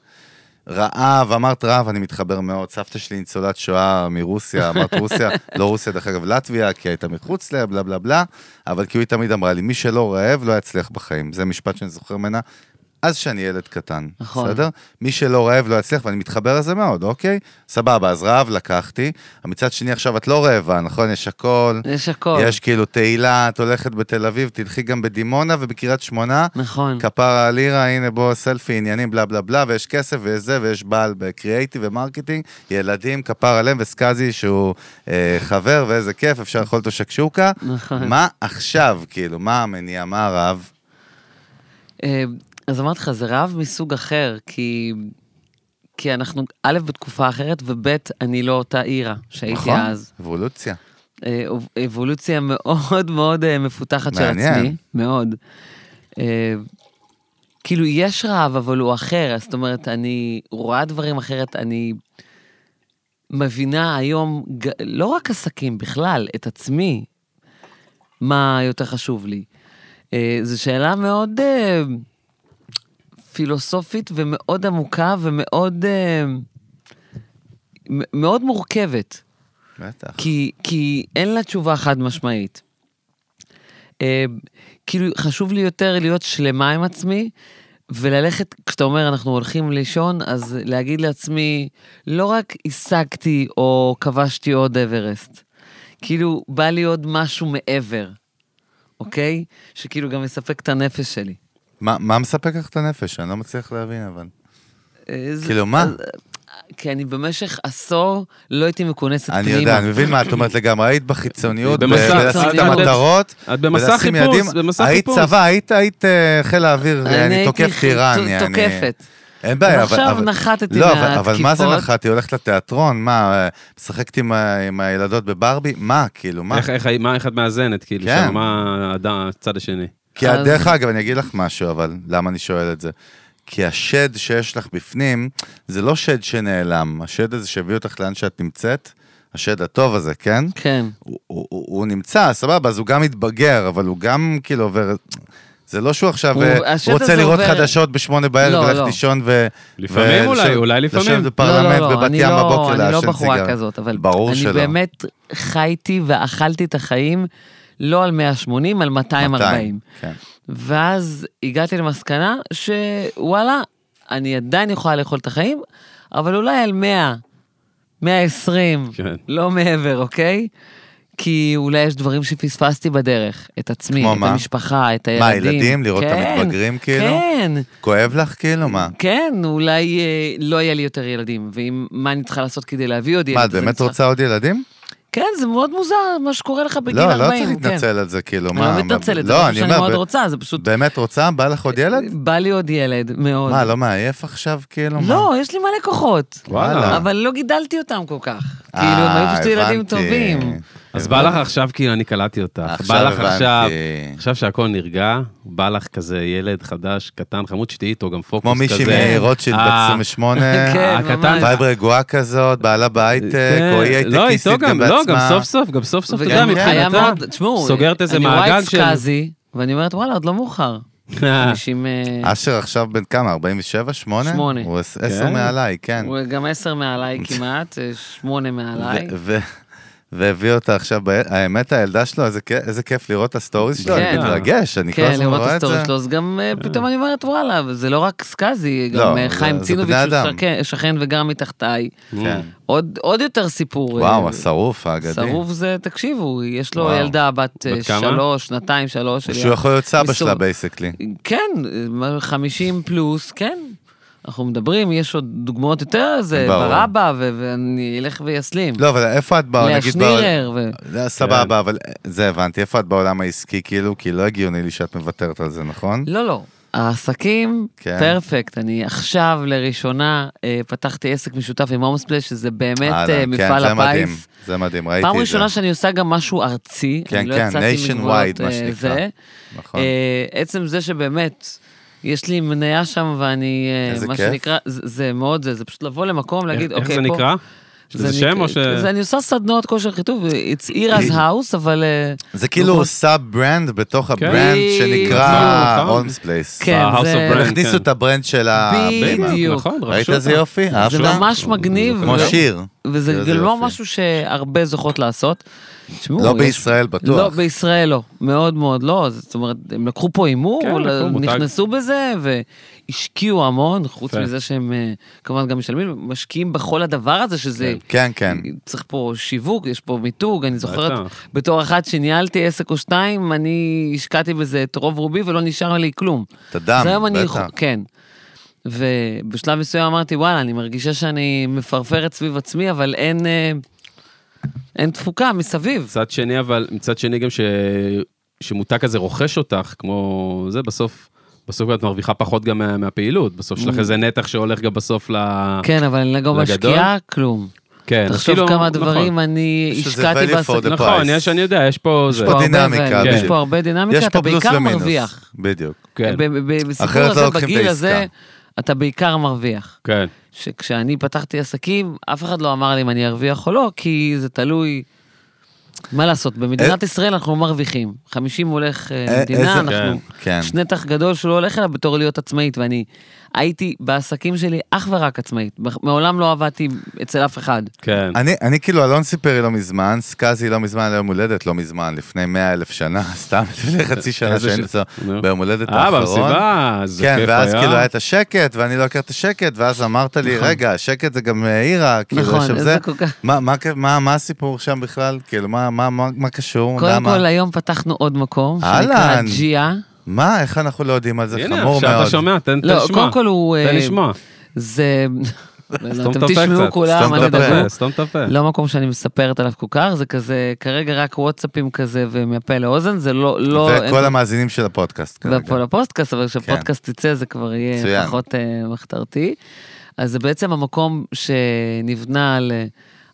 רעב, אמרת רעב, אני מתחבר מאוד. סבתא שלי ניצולת שואה מרוסיה, אמרת רוסיה, לא רוסיה, דרך אגב, לטביה, כי הייתה מחוץ לה, בלה בלה בלה, אבל כאילו היא תמיד אמרה לי, מי שלא רעב לא יצליח בחיים. זה משפט שאני זוכר ממנה. אז שאני ילד קטן, נכון. בסדר? מי שלא רעב לא יצליח, ואני מתחבר לזה מאוד, אוקיי? סבבה, אז רעב לקחתי. מצד שני, עכשיו את לא רעבה, נכון? יש הכל. יש הכל. יש כאילו תהילה, את הולכת בתל אביב, תלכי גם בדימונה ובקריית שמונה. נכון. כפרה על לירה, הנה בוא סלפי, עניינים, בלה בלה בלה, ויש כסף ויש זה, ויש בעל בקריאייטיב ומרקטינג, ילדים, כפר עליהם, וסקאזי שהוא אה, חבר, ואיזה כיף, אפשר לאכול אותו שקשוקה. נכון. מה עכשיו, כאילו, מה המניע, מה הרב? אה, אז אמרתי לך, זה רעב מסוג אחר, כי... כי אנחנו, א', בתקופה אחרת, וב', אני לא אותה עירה שהייתי אז. נכון? אבולוציה. אה, אוב- אבולוציה מאוד מאוד אה, מפותחת של מעניין. עצמי, מאוד. אה, כאילו, יש רעב, אבל הוא אחר, אז זאת אומרת, אני רואה דברים אחרת, אני מבינה היום, ג- לא רק עסקים, בכלל, את עצמי, מה יותר חשוב לי. אה, זו שאלה מאוד אה, פילוסופית ומאוד עמוקה ומאוד אה, מ- מאוד מורכבת. בטח. כי, כי אין לה תשובה חד משמעית. אה, כאילו, חשוב לי יותר להיות שלמה עם עצמי, וללכת, כשאתה אומר, אנחנו הולכים לישון, אז להגיד לעצמי, לא רק השגתי או כבשתי עוד אברסט, כאילו, בא לי עוד משהו מעבר, אוקיי? שכאילו גם יספק את הנפש שלי. מה, מה מספק לך את הנפש? אני לא מצליח להבין, אבל. אה, זה- כאילו, מה? אז- אה, כי אני במשך עשור לא הייתי מכונסת אני פנימה. יודע, אני מבין מה את אומרת לגמרי, היית בחיצוניות, ב- במסע- בלשים את את במסע- המטרות, את במסע ולשים חיפוש, יעדים. במסע היית חיפוש. צבא, היית- היית אה, חיל האוויר, אה, אני הייתי תוקף ח- טיראן. ת- אני- תוקפת. אין בעיה, אבל... עכשיו אבל- נחתתי לא, אבל- אבל מה זה מהתקיפות. נחת? היא הולכת לתיאטרון? מה, אה, משחקת עם ה- עם הילדות בברבי? מה, כאילו, מה? איך- איך ה- מה איך את מאזנת, כאילו, כן. שם, מה הד- הצד השני? כי אז- דרך אגב, אני אגיד לך משהו, אבל למה אני שואל את זה? כי השד שיש לך בפנים, זה לא שד שנעלם. השד הזה שהביא אותך לאן שאת נמצאת, השד הטוב הזה, כן? כן. הוא, הוא, הוא הוא נמצא, סבבה, אז הוא גם מתבגר, אבל הוא גם כאילו עובר... זה לא שהוא עכשיו הוא- אה, השד רוצה הזה לראות עובר- חדשות בשמונה בערב, לא, ללכת לא. לישון ו... לפעמים ולשבת- אולי, אולי לפעמים. לשבת לא, בפרלמנט לא, לא, בבת אני ים לא- בבוקר אני לעשן לא סיגר. בחורה כזאת, אבל ברור אני שלא. באמת חייתי ואכלתי את החיים לא על 180, על 240. 200, כן. ואז הגעתי למסקנה שוואלה, אני עדיין יכולה לאכול את החיים, אבל אולי על 100, 120, כן. לא מעבר, אוקיי? כי אולי יש דברים שפספסתי בדרך, את עצמי, כמו את מה? המשפחה, את מה, הילדים. ילדים? לראות את כן, המתבגרים, כאילו? כן. כואב לך כאילו? מה? כן, אולי אה, לא יהיה לי יותר ילדים, ואם, מה אני צריכה לעשות כדי להביא עוד ילד? מה, את אז אני באמת צריכה- רוצה עוד ילדים? כן, זה מאוד מוזר, מה שקורה לך בגיל 40. לא, לא צריך כן. להתנצל על זה, כאילו, אני מה... לא מתנצלת, זה לא, משהו אני שאני אומר, מאוד ב- רוצה, זה פשוט... באמת רוצה? בא לך עוד ילד? בא לי עוד ילד, מאוד. מה, לא מעייף עכשיו, כאילו? מה? לא, יש לי מלא כוחות. וואלה. אבל לא גידלתי אותם כל כך. אה, כאילו, הם היו פשוט ילדים הבנתי. טובים. אז בא לך עכשיו, כאילו, אני קלטתי אותך. עכשיו בא לך עכשיו, הבנתי. עכשיו שהכל נרגע, בא לך כזה ילד חדש, קטן, חמוד, שתהיי איתו גם פוקוס כמו כזה. מישהי מרוטשילד בת אה, 28, כן, הקטן. ממש. וייב רגועה כזאת, בעלה בהייטק, כן, או היא לא, איתו הייטקיסטית גם גם, לא, גם בעצמה. סוף סוף, גם סוף סוף, אתה יודע, וגם היה מבחינתה, מאוד, תשמעו, סוגרת איזה אני רואה מעגל את של... אה, סקאזי, ואני אומרת, וואלה, עוד לא מאוחר. כן. אנשים... אה, אשר עכשיו בן כמה? 47? 8? שמונה. הוא 10 מעליי, כן. הוא גם עשר מעליי כמעט, אה, שמונה מעליי. ו- ו- והביא אותה עכשיו, ב- האמת, הילדה שלו, איזה כיף- איזה כיף לראות את הסטוריז שלו, אני כן. מתרגש, אני כל כן, הזמן לראות את רואה את זה. הסטורי שלו, אז גם אה, פתאום אני אומרת, וואלה, זה לא רק סקאזי, גם לא, אה, זה- חיים זה צינוביץ' בני הוא אדם. שכן- שכן וגר מתחתיי. כן. עוד עוד יותר סיפור. וואו, אה, השרוף האגדי. שרוף זה, תקשיבו, יש לו וואו. ילדה בת אה, בת כמה? שלוש, שנתיים, שלוש. שהוא יכול להיות סבא מסור- שלה בייסקלי. כן, אה, 50 פלוס, כן. אנחנו מדברים, יש עוד דוגמאות יותר, זה ברור. ברבא, ו- ואני אלך ואסלים. לא, אבל איפה את באה, לאה נגיד... בעול- שנירר ו- זה סבבה, אבל זה הבנתי, איפה את בעולם העסקי, כאילו? כי לא הגיוני לי שאת מוותרת על זה, נכון? לא, לא. העסקים, כן. פרפקט. אני עכשיו, לראשונה, אה, פתחתי עסק משותף עם הומספלש, שזה באמת אהלן, אה, כן, מפעל זה מדהים, הפיס. זה מדהים, ראיתי את זה. פעם ראשונה שאני עושה גם משהו ארצי, כן, אני לא כן, יצאתי nation מגבולות wide, מה אה, שנקרא. זה. נכון. אה, עצם זה שבאמת, יש לי מניה שם ואני, אה, איזה מה כיף. שנקרא, זה- זה מאוד זה, זה פשוט לבוא למקום, איך להגיד, איך אוקיי, זה פה... נקרא? שזה שם או ש... נקרא- זה אני עושה סדנאות כושר חיטוב, it's Ira's house, אבל... אה, זה כאילו סאב ברנד בתוך הברנד נכון, שנקרא נכון. הולמס פלייס. כן, ב-House זה- of Brand, הם הכניסו כן. את הברנד של ה... בדיוק. במה. נכון, רכשו ראית אותה. איזה יופי? אה? זה אהבת? ממש מגניב. כמו ו- שיר. וזה איזה גם לא יופי. משהו שהרבה זוכות לעשות. תשמעו, לא יש- בישראל בטוח. לא, בישראל לא. מאוד מאוד לא. זאת אומרת, הם לקחו פה הימור, כן, לקחו מותג. נכנסו בזה והשקיעו המון, חוץ יפה. מזה שהם אה, כמובן גם משלמים, משקיעים בכל הדבר הזה, שזה... כן, כן. צריך פה שיווק, יש פה מיתוג, אני זוכרת, בטח. בתור אחת שניהלתי עסק או שתיים, אני השקעתי בזה את רוב רובי ולא נשאר לי כלום. את הדם, אז היום אני בטח. יכול- כן. ובשלב מסוים אמרתי, וואלה, אני מרגישה שאני מפרפרת סביב עצמי, אבל אין, אה, אין תפוקה מסביב. מצד שני, אבל מצד שני גם ש... שמותג כזה רוכש אותך, כמו זה, בסוף, בסוף את מרוויחה פחות גם מה, מהפעילות. בסוף יש לך איזה נתח שהולך גם בסוף ל... Mm. כן, אבל אני גם לגדול? משקיעה כלום. כן, אז תחשוב כאילו, כמה נכון. דברים אני יש לזה השקעתי value for בעסק. the נכון, נכון, price. יש, אני יודע, יש פה זה. פה הרבה דינמיקה, value, יש בדיוק. פה הרבה דינמיקה, יש אתה פה פלוס בעיקר ומינוס. מרוויח. בדיוק. כן, ב- ב- ב- בסיפור אחרת לא הזה, לוקחים את בגיל העסקה. הזה, אתה בעיקר מרוויח. כן. שכשאני פתחתי עסקים, אף אחד לא אמר לי אם אני ארוויח או לא, כי זה תלוי... מה לעשות, במדינת ישראל אנחנו לא מרוויחים. 50 הולך אה, אה, למדינה, איזה- אנחנו... כן. יש נתח גדול שלא הולך אליו בתור להיות עצמאית, ואני הייתי בעסקים שלי אך ורק עצמאית. מח- מעולם לא עבדתי אצל אף אחד. כן. אני, אני כאילו, אלון סיפר לי לא מזמן, סקאזי לא מזמן, ליום הולדת לא מזמן, לפני 100 אלף שנה, סתם, לפני חצי שנה איזה שהיינו ש- אצלו, נו. ביום הולדת אה, האחרון. במסיבה, אז זה כן, כיף ואז היה. נכון. כאילו היה את השקט, ואני לא אכיר את השקט, ואז אמרת לי, רגע, השקט זה גם העירה, כאילו, נכון, עכשיו איזה זה, כל כך- מה- מה- מה מה הסיפור שם בכלל? כאילו, מה- מה מה- מה קשור? קודם למה? כל, היום פתחנו עוד מקום, שנקרא אהלן. ג'יה. מה, איך אנחנו לא יודעים על זה? הנה, חמור עכשיו מאוד. אתה שומע, תן תן לשמוע. לא, קודם כל הוא... תן אה, לשמוע. זה... סתום את אתם הפה תשמעו קצת. כולם, סתום אל את הפה. תדאגו. אה, סתום את הפה. לא מקום שאני מספרת עליו כל כך, זה כזה, כרגע רק וואטסאפים כזה ומהפה לאוזן, זה לא, לא, וכל המאזינים של הפודקאסט כרגע. כן. ופה לפוסטקאסט, לא, אבל כשהפודקאסט יצא זה כבר יהיה מצוין. פחות אה, מחתרתי. אז זה בעצם המקום שנבנה על, אה,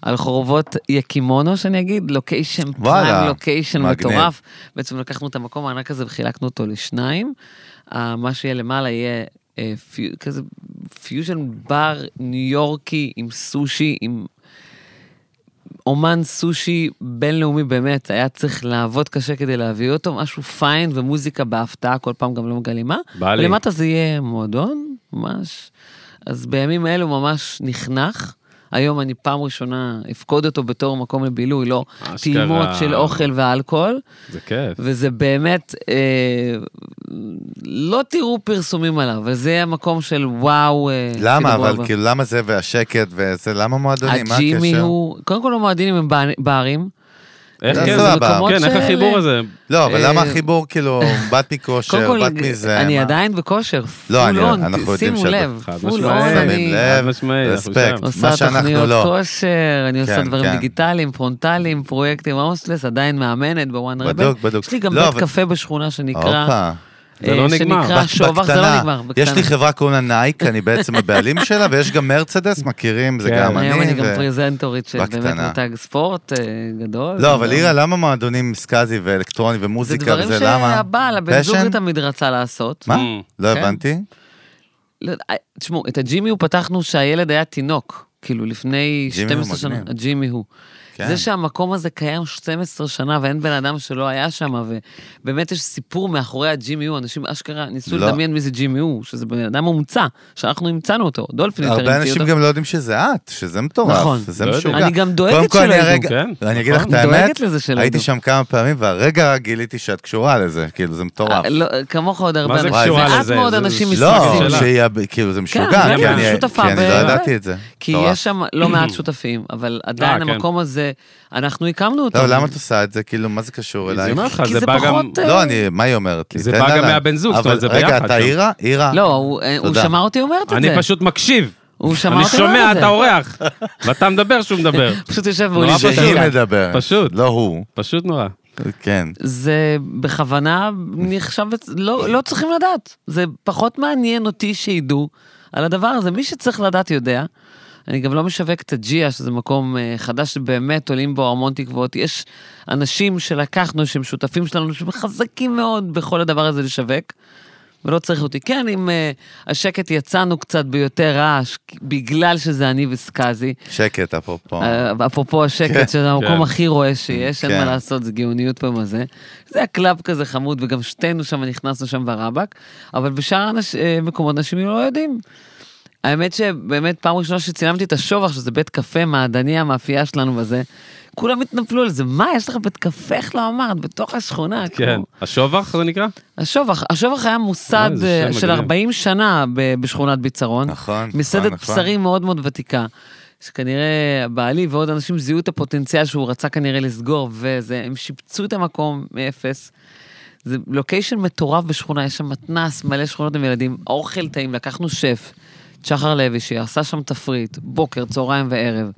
על חורבות יקימונו, שאני אגיד, לוקיישן פריים, וואלה, לוקיישן מגניב. מטורף. בעצם לקחנו את המקום הענק הזה וחילקנו אותו לשניים. אה, מה שיהיה למעלה יהיה אה, פיו- כזה פיוז'ן בר ניו יורקי עם סושי, עם אומן סושי בינלאומי באמת, היה צריך לעבוד קשה כדי להביא אותו, משהו פיין ומוזיקה בהפתעה, כל פעם גם לא מגלים מה. בא לי. ולמטה זה יהיה מועדון, ממש. אז בימים אלו ממש נחנך. היום אני פעם ראשונה אפקוד אותו בתור מקום לבילוי, לא אשכרה. טעימות של אוכל ואלכוהול, זה כיף. וזה באמת, אה, לא תראו פרסומים עליו, אבל זה יהיה מקום של וואו. אה, למה, שידברו אבל עליו. כאילו, למה זה והשקט וזה, למה מועדונים? מה הג'ימי הקשר? הוא, קודם כל המועדינים הם בע- בערים. איך זה כן, סבבה. זה מקומות כן, של- איך החיבור הזה? לא, אבל אה, למה החיבור, כאילו, בת מכושר, קודם כל, בת מזה? אני מה? עדיין בכושר, לא, פול אני- און, אנחנו יודעים שימו שאת- לב, חד פול משמעית. און, שמים אני לב, חד משמעית, אנחנו רספקט, שם. מה עושה שאנחנו תוכניות לא. כושר, אני עושה כן, דברים כן. דיגיטליים, פרונטליים, פרויקטים, הומוסלס, עדיין מאמנת בוואן רבל. בדוק, בדוק. יש לי גם לא, בית אבל- קפה בשכונה שנקרא, הופה. זה לא אה, נגמר. שנקרא שובך, זה לא בקטנה. נגמר, יש בקטנה. לי חברה קוראים לה נייק, אני בעצם הבעלים שלה, ויש גם מרצדס, מכירים, זה כן. גם אני. היום אני גם ו- פרזנטורית של באמת בקטנה. מותג ספורט אה, גדול. לא, אבל וגם- אירה, למה מועדונים סקאזי ואלקטרוני זה ומוזיקה דברים וזה, למה? שהבעל, הבן זוג Passion? תמיד רצה לעשות. מה? Mm. לא כן. הבנתי. לא יודע, תשמעו, את הג'ימי הוא פתחנו כשהילד היה תינוק, כאילו לפני ג'ימי הוא 12 שנה, מגניב. הג'ימי הוא. כן. זה שהמקום הזה קיים 12 שנה ואין בן אדם שלא היה שם, ובאמת יש סיפור מאחורי הג'ימי הוא, אנשים אשכרה ניסו לא. לדמיין מי זה ג'ימי הוא, שזה בן אדם מומצא, שאנחנו המצאנו אותו, דולפין יותר הרבה המציא אנשים אותו. גם לא יודעים שזה את, שזה מטורף, נכון. זה לא משוגע. יודעים. אני גם קודם דואגת כל, שלא אני ידעו. הרגע- כן, ואני אגיד לך את נכון. דואגת האמת, לזה שלא הייתי ידעו. שם כמה פעמים, והרגע גיליתי שאת קשורה לזה, כאילו, זה מטורף. אה, לא, כמוך עוד הרבה זה אנשים, קשורה מעט לזה? מאוד זה- אנשים זה- לא, מסביב. שאלה. שהיא, הב- כאילו, זה משוגע, כן, אבל כי אני שותפה כי אני לא ב- ידעתי את זה. כי מטורף. יש שם לא מעט שותפים, אבל עדיין כן. המקום הזה, אנחנו הקמנו אותו. לא, למה את עושה את זה? כאילו, מה זה קשור אני אלייך? אומר לך, כי זה זה בא גם... פחות, אה, לא, אני, מה היא אומרת לי? זה תן בא לה גם לה. מהבן זוג, זאת אבל אומרת, זה רגע, ביחד אתה גם. אירה? אירה. לא, הוא- אה, הוא תודה. שמע אותי אומרת את זה. אני פשוט מקשיב. הוא שמע אני אותי שומע, אומרת את אתה זה. אורח, ואתה מדבר שהוא מדבר. פשוט יושב והוא נורא נשאר. פשוט. שהיא פשוט. מדברת. פשוט. לא הוא. פשוט נורא. כן. זה בכוונה נחשב, לא, לא צריכים לדעת. זה פחות מעניין אותי שידעו על הדבר הזה. מי שצריך לדעת יודע. אני גם לא משווק את הג'יה, שזה מקום אה, חדש שבאמת עולים בו המון תקוות. יש אנשים שלקחנו, שהם שותפים שלנו, שהם חזקים מאוד בכל הדבר הזה לשווק. ולא צריך אותי. כן, עם אה, השקט יצאנו קצת ביותר רעש, בגלל שזה אני וסקאזי. שקט, אפרופו. אה, אפרופו השקט, שזה כן. המקום הכי רועש שיש, אין כן. מה לעשות, זה גאוניות פעם הזה. זה הקלאב כזה חמוד, וגם שתינו שם נכנסנו שם ברבק, אבל בשאר המקומות אנשים לא יודעים. האמת שבאמת פעם ראשונה שצילמתי את השובח, שזה בית קפה מעדני, המאפייה שלנו וזה, כולם התנפלו על זה, מה, יש לך בית קפה, איך לא אמרת, בתוך השכונה, כן. כאילו. השובח זה נקרא? השובח, השובח היה מוסד אוי, זה שם אה, של מגניב. 40 שנה ב- בשכונת ביצרון. נכון, נכון, מסעדת נכון. בשרים מאוד מאוד ותיקה. שכנראה בעלי ועוד אנשים זיהו את הפוטנציאל שהוא רצה כנראה לסגור, וזה, הם שיפצו את המקום מאפס. זה לוקיישן מטורף בשכונה, יש שם מתנס, מלא שכונות עם ילדים, אוכל טעים, לקחנו שף, שחר לוי, שעשה שם תפריט, בוקר, צהריים וערב.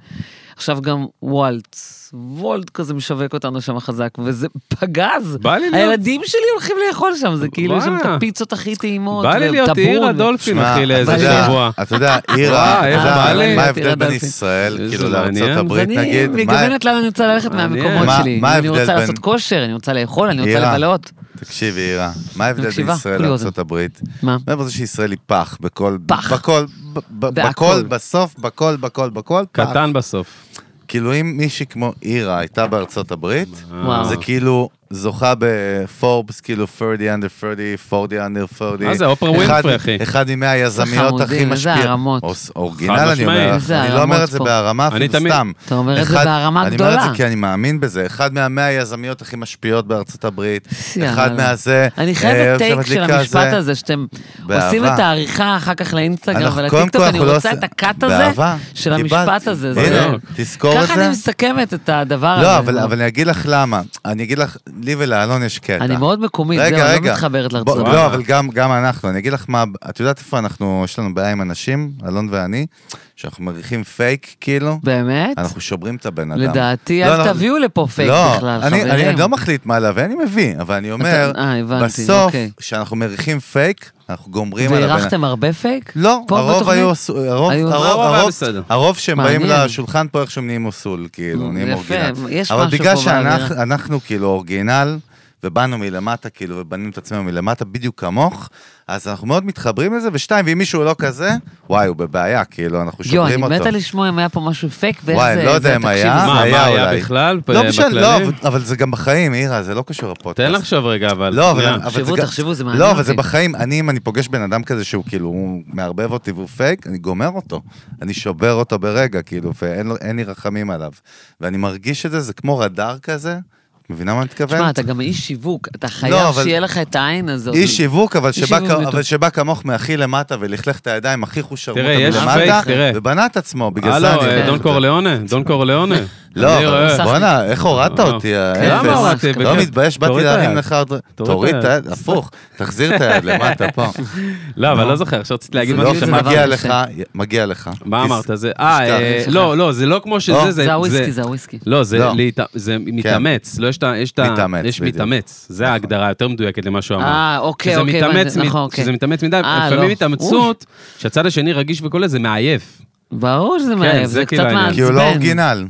עכשיו גם וולטס, וולט כזה משווק אותנו שם חזק, וזה פגז. בא לי להיות- הילדים שלי הולכים לאכול שם, זה כאילו יש שם את וואלה. הפיצות הכי טעימות, בא לי להיות וטאבון, עיר ו- הדולפין, שמע, אחי, לאיזה אתה יודע- אה, שבוע. אה, אתה יודע, אירה, וואי, אתה איך יודע, בא לי. מה אירה ההבדל בין דלפין. ישראל, איזה כאילו, לא מעניין. לארצות הברית, אז אני נגיד? מה- מגוונת לאן אני רוצה ללכת מעניין. מהמקומות מה- שלי. מה אני ההבדל רוצה בין- לעשות כושר, אני רוצה לאכול, אני רוצה אירה. לבלות. תקשיבי, אירה, מה ההבדל בין מקשיבה, ישראל כולי אוזן. לארצות הברית? מה? מעבר לזה שישראל היא פח, בכל, פח. בכל, ב- ב- בהכל. בכל, בסוף, בכל, בכל, בכל, פח. קטן בסוף. כאילו אם מישהי כמו אירה הייתה בארצות הברית, וואו. זה כאילו זוכה בפורבס, כאילו 30 under 30, 40 under 30. מה זה, אופרה ווינפרי, אחד- אחי. אחד מהיזמיות חמודים, הכי איזה משפיעות. הרמות. אוס- אורגינל אני משמעית. אומר לך, איזה אני לא הרמות אומר את זה פה. בהרמה אני אפילו תמיד- סתם. אתה אומר את זה אחד- בהרמה אני אומר את גדולה. זה כי אני מאמין בזה. אחד מהמאה היזמיות הכי משפיעות בארצות הברית. יאללה. אחד מהזה... אני אה, חייבת טייק של שמדליקה המשפט זה. הזה, שאתם באהבה. עושים את העריכה אחר כך לאינסטגרם אנחנו- קודם כל, ולטיקטוק, אני אנחנו לא רוצה עושים- את הקאט הזה באהבה. של קיבלתי. המשפט הזה. זה- לא- הנה, תזכור את זה. ככה אני מסכמת את הדבר הזה. לא, אבל, אבל אני אגיד לך למה. אני אגיד לך, לי ולאלון יש קטע. אני מאוד מקומית, זהו, רגע, אני רגע. לא מתחברת לארצות בוא- הברית. לא, אבל גם, גם אנחנו. אני אגיד לך מה, את יודעת איפה אנחנו, יש לנו בעיה עם אנשים, אלון ואני, שאנחנו מריחים פייק, כאילו, באמת? אנחנו שוברים את הבן אדם. לדעתי, לא, אל לא, תביאו לפה פייק לא, בכלל, אני, חברים. אני, אני לא מחליט מה להביא, אני מביא, אבל אני אומר, אתה- אה, הבנתי, בסוף, אוקיי. כשאנחנו מריחים פייק, אנחנו גומרים על הבן אדם. והערכתם הרבה פייק? לא, פה הרוב בתוכנית? היו, עשו- הרוב, היו- הרוב, הרוב היה הרוב, לא, בסדר. הרוב שהם באים מעניין. לשולחן פה איכשהו הם נהיים אוסול, כאילו, מ, נהיים יפה, אורגינל. יש אבל משהו בגלל פה שאנחנו באווירה. אנחנו כאילו אורגינל, ובאנו מלמטה, כאילו, ובנינו את עצמנו מלמטה בדיוק כמוך, אז אנחנו מאוד מתחברים לזה, ושתיים, ואם מישהו לא כזה, וואי, הוא בבעיה, כאילו, אנחנו יו, אני שוברים אותו. מתה לשמוע אם היה פה משהו פייק, ואיך זה... וואי, אני לא יודע זה- אם תקשיב, היה. זה- מה, היה מה היה אולי. בכלל? לא משנה, לא, אה, בכללי? אבל- אבל זה גם בחיים, אירה, זה לא קשור לפודקאסט. תן לחשוב רגע, אבל. לא, אבל... שנייה. אבל תחשבו, זה גם- תחשבו, זה מעניין אוקיי. לא, אבל זה אותי. בחיים, אני, אם אני פוגש בן אדם כזה שהוא כאילו, הוא מערבב אותי והוא פייק, אני גומר אותו. אני שובר אותו ברגע, כאילו, ואין לו- אין לי רחמים עליו. ואני מרגיש את זה, זה כמו רדאר כזה, את מבינה מה אני מתכוון? תשמע, אתה גם איש שיווק, אתה לא, חייב אבל- שיהיה לך את העין הזאת. איש שיווק, אבל איש שבא שיווק כ- מטורף. אבל שבא כמוך מהכי למטה ולכלך את הידיים, הכי חושרמוטה תראה, יש מלמטה, פייק, תראה. ובנה את עצמו, בגלל הלו, זה אני... אה, דון קורליאונה, דון קורליאונה. לא, אני אבל רואה. בואנה, איך הורדת לא. אותי, האפס. אה, למה הורדתי? לא בכיף. מתבייש, באתי תוריד את להרים היד. לך... עוד- תוריד את היד, הפוך, תחזיר את היד למטה פה. לא, אבל לא זוכר, עכשיו רציתי להגיד זה משהו לא, זה שמעתי. דבר מגיע לך, קשה. מגיע לך. מה תס- אמרת? זה... אה, אה, תשכח. לא, לא, זה לא כמו שזה, לא, זה... זה הוויסקי, זה הוויסקי. לא, זה לא. להת- זה מתאמץ, לא יש את ה... יש את ה- מתאמץ, יש בדיוק. נכון. מתאמץ, זה ההגדרה היותר מדויקת למה שהוא אמר. אה, אוקיי, שזה אוקיי, מתאמץ הבנתי, מ- נכון, אוקיי. שזה מתאמץ מדי, אה, לפעמים לא. התאמצות, שהצד השני רגיש וכל זה, מעייף. ברור שזה מעייף, זה זה כאילו קצת העניין. מעצבן. כי הוא לא אורגינל.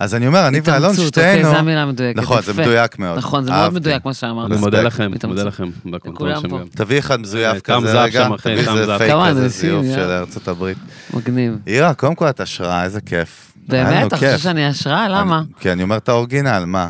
אז אני אומר, אני ואלון התאמצות, אוקיי, שתינו... זו המילה המדויקת, נכון, זה יפה. מדויק מאוד. נכון, זה מאוד אהבתי. מדויק מה שאמרת. אני מודה לכם, מתאמצות. מודה לכם. בקונטרול אוקיי. לכולם שם פה. גם. תביא אחד מזויף אה, תם כזה זהב רגע, שם, אחי, תביא תם איזה זהב. פייק כמה אה? כזה אנשים, זיוף יאללה. של ארצות הברית. מגניב. אירה, קודם כל את השראה, איזה כיף. היה לנו באמת? אתה חושב כיף. שאני השראה? למה? אני- כי אני אומר את האורגינל, מה?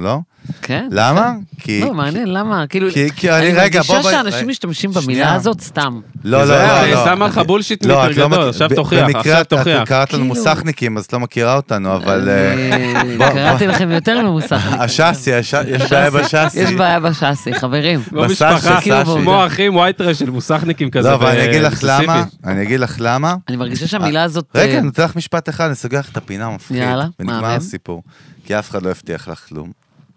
לא? כן. למה? כי... לא, מעניין, למה? כאילו, כי- כי אני- אני רגע, בוא- מרגישה בוא- שאנשים משתמשתים במילה שנייה. הזאת סתם. לא, לא, לא, היא לא. שמה לך אני- בולשיט לא, מיטר את לא גדול, מכיר- עכשיו ב- תוכיח, במקרה עכשיו את- את תוכיח. קראת לנו כאילו- מוסכניקים, אז לא מכירה אותנו, אבל... אה, אני- בוא- קראתי לכם יותר ממוסכים. השאסי, הש- יש בעיה בשאסי. יש בעיה בשאסי, חברים. כמו בסשה, לא משפחה, סשה. כמו אחים וייטרה של מוסכניקים כזה. לא, אבל אני אגיד לך במיסיסיפי. למה, אני אגיד לך למה. אני מרגישה שהמילה הזאת... רגע, אה, אני נותן לך משפט אחד, אני סוגר לך את הפינה המפחיד. יאללה, ונגמר מהמם. הסיפור. כי אף אחד לא הבטיח לך כלום.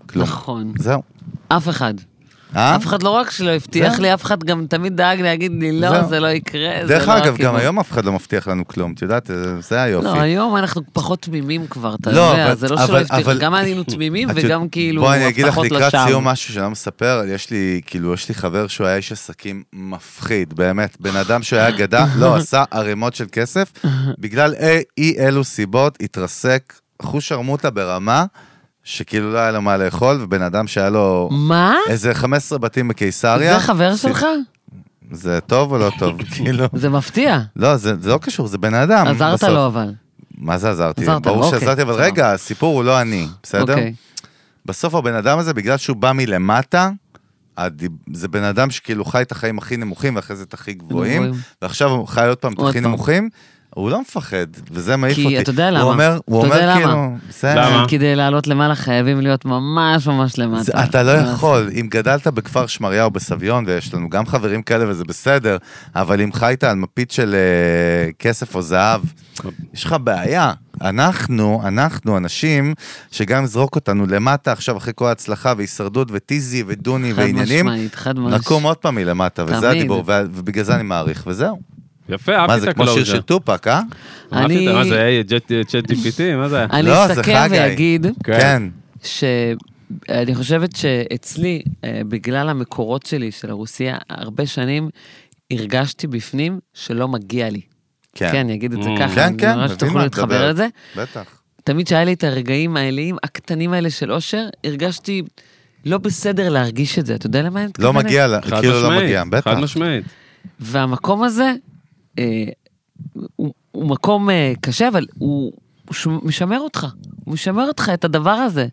כלום. נכון. זהו. אף אחד. לא. אה? אף אחד לא רק שלא הבטיח זהו. לי, אף אחד גם תמיד דאג להגיד לי, לא, זהו. זה לא יקרה, זה לא... דרך אגב, גם הכיוון." היום אף אחד לא מבטיח לנו כלום, את יודעת, זה- זה היופי. לא, היום אנחנו פחות תמימים כבר, אתה לא, יודע, אבל- זה לא אבל- שלא הבטיחו, אבל- גם היינו תמימים את וגם יודעת- כאילו בוא אני אגיד לך הבטחות לקראת לשווא. סיום משהו שאני לא מספר, יש לי, כאילו, יש לי חבר שהוא היה איש עסקים מפחיד, באמת. בן אדם שהיה גדע, לא, עשה ערימות של כסף, בגלל אי- אי אלו סיבות התרסק חוש ערמוטה ברמה, שכאילו לא היה לו מה לאכול, ובן אדם שהיה לו מה? איזה 15 בתים בקיסריה. זה החבר סיפ- שלך? זה טוב או לא טוב? כאילו... זה מפתיע. לא, זה זה לא קשור, זה בן אדם. עזרת בסוף. לו אבל. מה זה עזרתי? עזרת לו, ברור אוקיי, שעזרתי, אבל בסדר. רגע, הסיפור הוא לא אני, בסדר? אוקיי. בסוף הבן אדם הזה, בגלל שהוא בא מלמטה, הדיב... זה בן אדם שכאילו חי את החיים הכי נמוכים, ואחרי זה את הכי גבוהים, גבוהים. ועכשיו הוא חי עוד פעם את עוד הכי פעם. נמוכים, הוא לא מפחד, וזה מעיף כי אותי. אתה יודע למה. הוא אומר, הוא אתה יודע אומר למה. כאילו, בסדר. למה? כדי לעלות למעלה חייבים להיות ממש ממש למטה. זה, אתה לא יכול, אם גדלת בכפר שמריה או בסביון, ויש לנו גם חברים כאלה וזה בסדר, אבל אם חיית על מפית של אה, כסף או זהב, יש לך בעיה. אנחנו, אנחנו אנשים שגם זרוק אותנו למטה עכשיו אחרי כל ההצלחה והישרדות וטיזי ודוני חד ועניינים, משמעית, חד משמעית. נקום עוד פעם מלמטה, וזה תמיד. הדיבור, ו- ובגלל זה אני מעריך, וזהו. יפה, אהבתי מה את זה, כמו שיר הקלוז'ר. של טופק, אה? אהבתי את ה- מה אני- זה, היי, צ'אט GPT, מה זה? אני לא, זה אסתכל חגי. ואגיד כן. כן. שאני חושבת שאצלי, אה, בגלל המקורות שלי של הרוסיה, הרבה שנים הרגשתי בפנים שלא מגיע לי. כן. כן, אני אגיד את זה Mm. ככה. כן, אני כן, ממש מבין תוכלו מה את להתחבר מדברת. לזה. בטח. תמיד שהיה לי את הרגעים העיליים הקטנים האלה של אושר, הרגשתי לא בסדר להרגיש את זה. אתה יודע למה אני לא מתכוונת? מגיע לה, חד כאילו לא משמעית, מגיע, בטח. חד משמעית. והמקום הזה, אה, הוא, הוא מקום אה, קשה, אבל הוא, הוא ש, משמר אותך. הוא משמר אותך את הדבר הזה.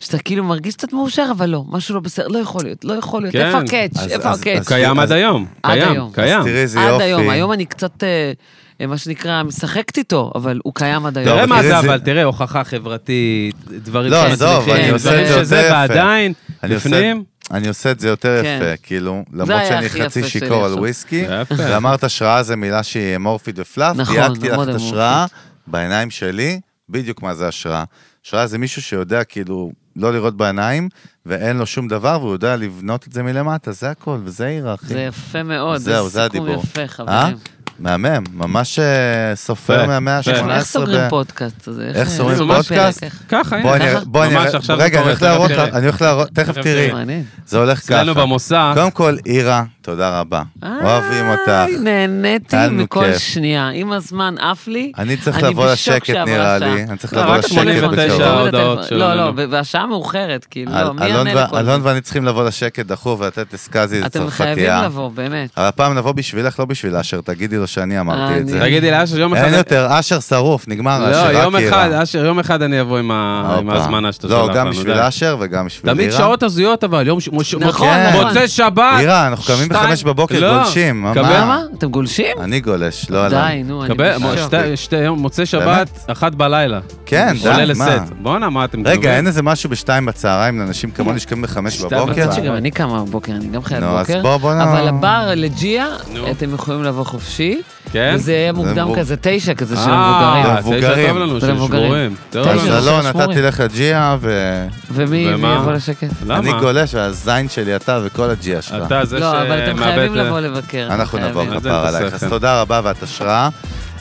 שאתה כאילו מרגיש קצת מאושר, אבל לא, משהו לא בסדר, לא יכול להיות, לא יכול להיות, כן. איפה הקאץ', אז- איפה אז- הוא אז- הקאץ'? קיים עד היום. עד קיים, היום. קיים. אז תראי איזה יופי. עד היום, היום אני קצת, אה, אה, מה שנקרא, משחקת איתו, אבל הוא קיים עד היום. תראה לא, אבל מה תראי זה, זה- אבל תראה, הוכחה חברתית, דברים לא, שמצליחים, עזוב, אני עושה את דברים זה יותר שזה, יפה. ועדיין, אני עושה- לפנים, אני עושה את זה יותר כן. יפה, כאילו, למרות היה שאני הכי חצי יפה שלי שיכור על עכשיו. וויסקי, זה יפה. ואמרת השראה זה מילה שהיא אמורפית ופלאף, נכון, דייקתי לך מאוד את אמורפית. השראה בעיניים שלי, בדיוק מה זה השראה. השראה זה מישהו שיודע כאילו לא לראות בעיניים, ואין לו שום דבר, והוא יודע לבנות את זה מלמטה, זה הכל, וזה עיר, אחי. זה יפה מאוד, זהו, זה זה סיכום הדיבור. יפה, אה? חברים. מהמם, ממש אה, סופר יפה, מהמאה יפה. ה-18. איך סוגרים פודקאסט? הזה? איך סוגרים זה ממש פודקאסט? פרק, איך- ככה, הנה. בואי אני אראה, ככה. בואי אני ממש אראה, עכשיו זה רגע, אני קורה, הולך תכף להראות תראה. לך, אני הולך להראות, תכף תכף תראי, תראי. מעניין. זה הולך ככה. אצלנו במוסך, קודם כל, אירה, תודה רבה. אה, אוהבים אותך. איי, נהניתי היה לנו מכל כיף. שנייה. עם הזמן עף לי. אני צריך אני לבוא בשוק לשקט, שעברה נראה שעה. לי. אני צריך לא, לבוא רק לשקט 89 בקרוב. הודעות שלנו. לא, לא, והשעה מאוחרת, כאילו, לא, מי אלון יענה ו- לכל אלון זה? ואני צריכים לבוא לשקט דחוף ולתת לסקאזי איזה אתם חייבים צרפתייה. לבוא, באמת. אבל הפעם נבוא בשבילך, לא בשביל אשר, תגידי לו שאני אמרתי אני- את זה. תגידי לאשר יום אחד, אין יותר, אשר שרוף, נגמר אשר, רק לא, אירה. יום אחד, אשר, יום אחד אני אבוא עם ה- עם הופה. ההזמנה שאתה שולח לא, לנו. גם בשביל די. אשר וגם בשביל אירה. תמיד שעות הזויות אבל, יום ש... מוש- נכון, מוצא- נכון. מוצא שבת. אירה, אנחנו קמים שתיים- בחמש בבוקר, לא, גולשים. מה? קבל- למה? אתם גולשים? אני גולש, לא אלון. די, נו, אני קבל- מ- בשוק. שתי- שתי- יום- מוצא שבת, באמת? אחת בלילה. כן, די, עולה מה? לסט. בואנה, מה אתם גנובים? רגע, אין איזה משהו בשתיים בצהריים לאנשים כמוני שקמים בחמש שתיים בבוקר? בצהריים. שגם אני קמה בבוקר, אני גם חיית נו, אז בוקר. בוא- בוא נ- אבל הבר לג'יה, נו. אתם יכולים לבוא חופשי. כן? וזה יהיה מוקדם מבוג- כזה תשע, כזה של אה, המבוגרים. תשע מבוגרים. טוב לנו, של של מבוגרים. שבורים. טוב תשע. לנו. אז אלון, שלושה אתה שמורים. תלך לג'יה, ואני ומי מי ומה? יבוא לשקט? למה? גולש, והזין שלי אתה וכל הג'יה שלך. אתה זה לא, אבל אתם שמאבד חייבים את- לבוא לבקר. אתם אנחנו נבוא חייבים. אז אין כפר עלייך, תוספת. אז תודה רבה ואת השראה.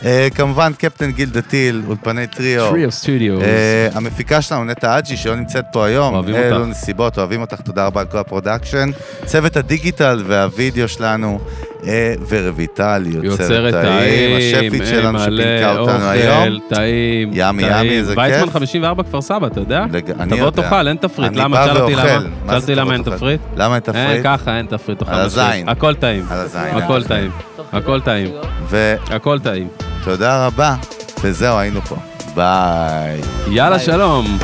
אה, כמובן, קפטן גיל דתיל, אולפני טריו. טריו סטודיו. אה, המפיקה שלנו, נטע אג'י, שלא נמצאת פה היום. אוהבים אלו אותך. נסיבות, אוהבים אותך, תודה רבה על כל הפרודקשן. צוות הדיגיטל והווידאו שלנו, אה, ורויטל, יוצרת יוצרת טעים, העיר, השפית אה, שלנו שפינקה מלא, אותנו אוכל, היום. טעים, ימי, טעים. ימי, איזה ויצמן כיף. 54 כפר סבא, אתה יודע? לג- אני תבוא יודע. תאכל, אין תפריט. אני למה? בא שאל אותי ואוכל. למה. מה שאל זה אותי תבוא למה אין תאכל? תפריט. למה אין אה, תפריט? ככה, אין תפריט. תאכל על בשביל. הזין. הכל טעים. על הזין. הכל טעים. הכל טעים. ותודה הכל טעים. רבה, וזהו, היינו פה. ביי. יאללה, שלום.